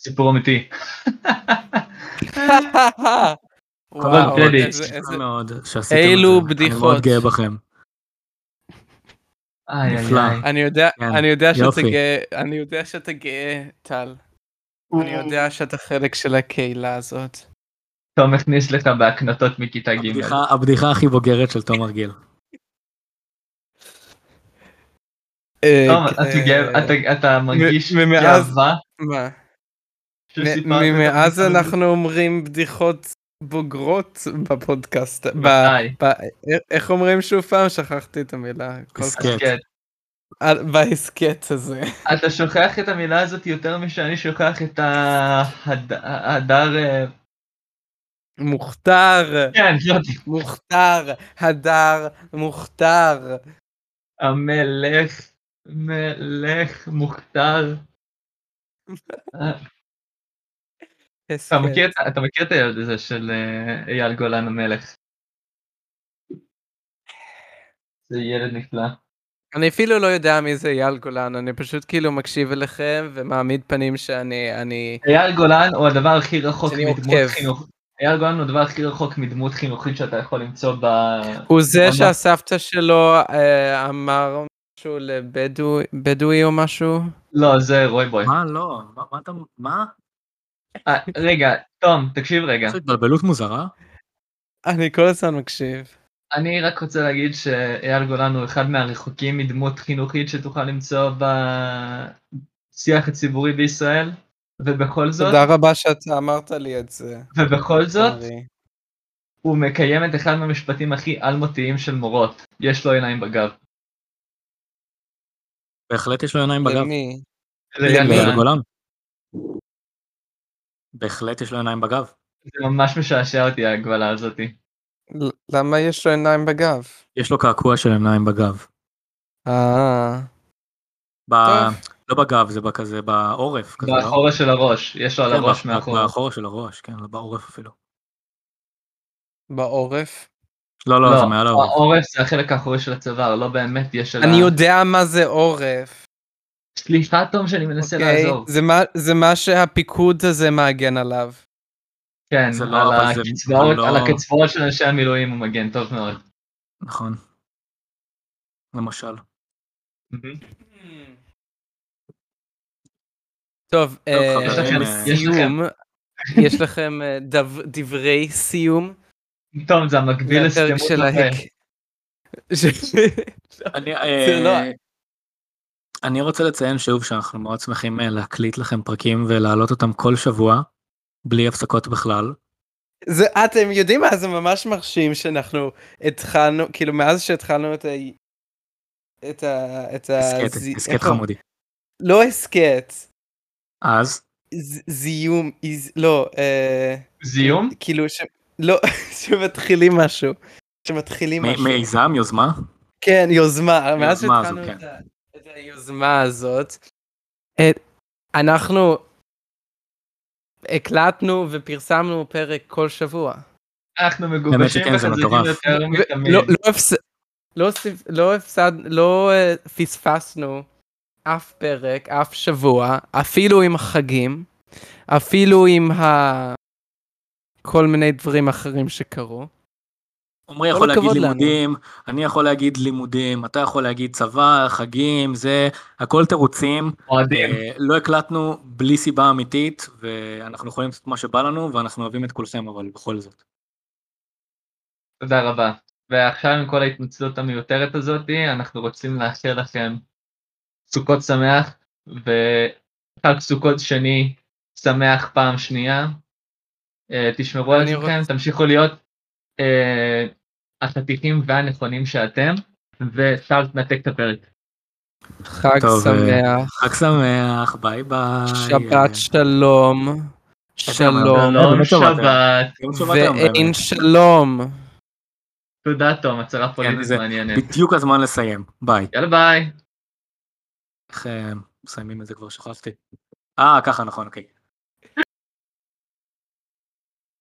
[SPEAKER 3] סיפור אמיתי.
[SPEAKER 1] כל
[SPEAKER 2] וואו,
[SPEAKER 1] הכבוד,
[SPEAKER 3] קרדיט.
[SPEAKER 2] איזה-
[SPEAKER 1] תודה
[SPEAKER 2] איזה-
[SPEAKER 1] מאוד שעשיתם
[SPEAKER 2] אילו
[SPEAKER 1] את זה. אני מאוד
[SPEAKER 2] בדיחות.
[SPEAKER 1] גאה בכם.
[SPEAKER 3] איי איי
[SPEAKER 1] נפלא.
[SPEAKER 3] איי.
[SPEAKER 2] אני יודע,
[SPEAKER 1] כן,
[SPEAKER 2] אני יודע שאתה
[SPEAKER 1] יופי.
[SPEAKER 2] גאה, אני יודע שאתה גאה, טל. אני יודע שאתה חלק של הקהילה הזאת.
[SPEAKER 3] תום הכניס לך בהקנטות מכיתה ג'.
[SPEAKER 1] הבדיחה- הבדיחה הכי בוגרת של תום הרגיל.
[SPEAKER 2] אה,
[SPEAKER 3] תום,
[SPEAKER 2] אה,
[SPEAKER 3] אתה גאה- אתה- אתה מרגיש
[SPEAKER 2] מ- ומאז-
[SPEAKER 3] גאווה
[SPEAKER 2] מה?
[SPEAKER 3] שסיפרת
[SPEAKER 2] מ-
[SPEAKER 3] את
[SPEAKER 2] מאז
[SPEAKER 3] הבדיחה הזאת?
[SPEAKER 2] אנחנו אומרים בדיחות בוגרות בפודקאסט. ב-
[SPEAKER 3] מתי?
[SPEAKER 2] ב- א- איך אומרים שוב פעם? שכחתי את המילה. כל כך-
[SPEAKER 1] הסכת.
[SPEAKER 3] כן.
[SPEAKER 2] אה, בהסכת הזה.
[SPEAKER 3] אתה שוכח את המילה הזאת יותר משאני שוכח את ההד- ההדר... אה,
[SPEAKER 2] מוכתר,
[SPEAKER 3] כן, זאת
[SPEAKER 2] מוכתר, הדר, מוכתר.
[SPEAKER 3] המלך, מלך מוכתר. אתה
[SPEAKER 2] הסכת.
[SPEAKER 3] מכיר את- אתה מכיר את הילד הזה של אה, אייל גולן המלך? זה ילד נפלא.
[SPEAKER 2] אני אפילו לא יודע מי זה אייל גולן, אני פשוט כאילו מקשיב אליכם ומעמיד פנים שאני, אני,
[SPEAKER 3] אייל גולן הוא הדבר הכי רחוק
[SPEAKER 2] שאני
[SPEAKER 3] מדמות
[SPEAKER 2] עוקב.
[SPEAKER 3] חינוכית. אייל גולן הוא הדבר הכי רחוק מדמות חינוכית שאתה יכול למצוא ב...
[SPEAKER 2] הוא זה
[SPEAKER 3] ממש.
[SPEAKER 2] שהסבתא שלו אה, אמר משהו לבדואי או משהו?
[SPEAKER 3] לא, זה רוי בוי.
[SPEAKER 1] מה לא? מה- מה אתה... מה?
[SPEAKER 3] אה, רגע, תום, תקשיב רגע.
[SPEAKER 1] זו התבלבלות מוזרה?
[SPEAKER 2] אני כל הזמן מקשיב.
[SPEAKER 3] אני רק רוצה להגיד שאייל גולן הוא אחד מהרחוקים מדמות חינוכית שתוכל למצוא בשיח הציבורי בישראל, ובכל זאת,
[SPEAKER 2] תודה רבה שאתה אמרת לי את זה.
[SPEAKER 3] ובכל זאת,
[SPEAKER 2] ארי.
[SPEAKER 3] הוא מקיים את אחד מהמשפטים הכי אלמותיים של מורות, יש לו עיניים בגב.
[SPEAKER 1] בהחלט יש לו עיניים בגב.
[SPEAKER 2] למי?
[SPEAKER 3] לאייל
[SPEAKER 2] למי?
[SPEAKER 1] ליאל
[SPEAKER 3] גולן.
[SPEAKER 1] גולן. בהחלט יש לו עיניים בגב.
[SPEAKER 3] זה ממש משעשע אותי ההגבלה הזאתי.
[SPEAKER 2] ל- למה יש לו עיניים בגב?
[SPEAKER 1] יש לו קעקוע של עיניים בגב.
[SPEAKER 2] אה,
[SPEAKER 1] ב...
[SPEAKER 2] טוב.
[SPEAKER 1] לא בגב, זה בכזה בעורף. כזה, לא?
[SPEAKER 3] באחורה של הראש, יש לו על
[SPEAKER 1] כן,
[SPEAKER 3] הראש
[SPEAKER 1] ב-
[SPEAKER 3] מאחורה.
[SPEAKER 1] באחורה של הראש, כן, לא בעורף אפילו.
[SPEAKER 2] בעורף?
[SPEAKER 1] לא, לא, זה מעל העורף.
[SPEAKER 3] העורף זה החלק האחורי של הצוואר, לא באמת יש על ה...
[SPEAKER 2] אני יודע מה זה עורף.
[SPEAKER 3] סליחה, תום, שאני מנסה
[SPEAKER 2] אוקיי?
[SPEAKER 3] לעזור.
[SPEAKER 2] זה מה- זה מה שהפיקוד הזה מעגן עליו.
[SPEAKER 3] כן,
[SPEAKER 1] זה לא,
[SPEAKER 3] על,
[SPEAKER 1] אבל זה-
[SPEAKER 3] הקצבאות,
[SPEAKER 1] זה לא-
[SPEAKER 3] על הקצבאות של אנשי המילואים הוא מגן טוב מאוד.
[SPEAKER 1] נכון. למשל.
[SPEAKER 2] טוב,
[SPEAKER 1] טוב,
[SPEAKER 2] אה,
[SPEAKER 1] חברים,
[SPEAKER 3] יש לכם- יש
[SPEAKER 2] סיום. יש לכם אה, דב- דברי סיום?
[SPEAKER 3] טוב, זה המקביל
[SPEAKER 2] לפרק
[SPEAKER 3] לסתימות
[SPEAKER 2] של ההק.
[SPEAKER 3] לפה.
[SPEAKER 2] ש-
[SPEAKER 1] אני,
[SPEAKER 2] זה לא-
[SPEAKER 1] אה, אני רוצה לציין שוב שאנחנו מאוד שמחים אה, להקליט לכם פרקים ולהעלות אותם כל שבוע, בלי הפסקות בכלל.
[SPEAKER 2] זה אתם יודעים מה זה ממש מרשים שאנחנו התחלנו כאילו מאז שהתחלנו את ה... את ה... את ה...
[SPEAKER 1] הסכת,
[SPEAKER 2] זי-
[SPEAKER 1] הסכת
[SPEAKER 2] איך הוא-
[SPEAKER 1] חמודי.
[SPEAKER 2] לא הסכת.
[SPEAKER 1] אז,
[SPEAKER 2] ז- זיום, איז- לא, אה,
[SPEAKER 3] זיהום?
[SPEAKER 2] כאילו ש... לא, שמתחילים משהו. שמתחילים
[SPEAKER 1] מ-
[SPEAKER 2] משהו.
[SPEAKER 1] מיזם, יוזמה,
[SPEAKER 2] כן, יוזמה. מאז
[SPEAKER 1] יוזמה הזו,
[SPEAKER 2] שהתחלנו
[SPEAKER 1] כן.
[SPEAKER 2] את ה- את היוזמה הזאת, את- אנחנו הקלטנו ופרסמנו פרק כל שבוע.
[SPEAKER 3] אנחנו מגובשים
[SPEAKER 1] שכן, זה
[SPEAKER 3] וחזקים
[SPEAKER 1] מטורף.
[SPEAKER 3] יותר מתמיד.
[SPEAKER 2] לא- לא הפס- לא הפס- לא הפסד- לא אה, פספסנו אף פרק, אף שבוע, אפילו עם החגים, אפילו עם ה... כל מיני דברים אחרים שקרו.
[SPEAKER 1] עמרי
[SPEAKER 2] כל
[SPEAKER 1] יכול להגיד
[SPEAKER 2] הכבוד לנו.
[SPEAKER 1] לימודים, אני יכול להגיד לימודים, אתה יכול להגיד צבא, חגים, זה, הכל תירוצים.
[SPEAKER 2] כן.
[SPEAKER 3] אוהדים.
[SPEAKER 1] אה, לא הקלטנו בלי סיבה אמיתית, ואנחנו יכולים לעשות מה שבא לנו, ואנחנו אוהבים את כולכם, אבל בכל זאת.
[SPEAKER 3] תודה רבה. ועכשיו עם כל ההתנצלות המיותרת הזאת, אנחנו רוצים לאחל לכם סוכות שמח, וחג סוכות שני שמח פעם שנייה. אה, תשמרו על
[SPEAKER 2] אני
[SPEAKER 3] עצמכם, תמשיכו להיות אה, החתיכים והנכונים שאתם, ואפשר לנתק את הפרק.
[SPEAKER 2] חג
[SPEAKER 1] טוב, אה,
[SPEAKER 2] שמח,
[SPEAKER 1] חג שמח, ביי ביי.
[SPEAKER 2] שבת שלום, שלום,
[SPEAKER 1] שלום.
[SPEAKER 3] שלום
[SPEAKER 1] באמת שמעתם.
[SPEAKER 3] שבת.
[SPEAKER 1] יום שבת היום, באמת.
[SPEAKER 2] ואין שלום.
[SPEAKER 3] תודה תום, הצהרה פוליטית
[SPEAKER 1] זה-
[SPEAKER 3] מעניינת.
[SPEAKER 1] בדיוק הזמן לסיים, ביי.
[SPEAKER 3] יאללה ביי.
[SPEAKER 1] איך אה, מסיימים את זה כבר שכחתי. אה, ככה, נכון, אוקיי.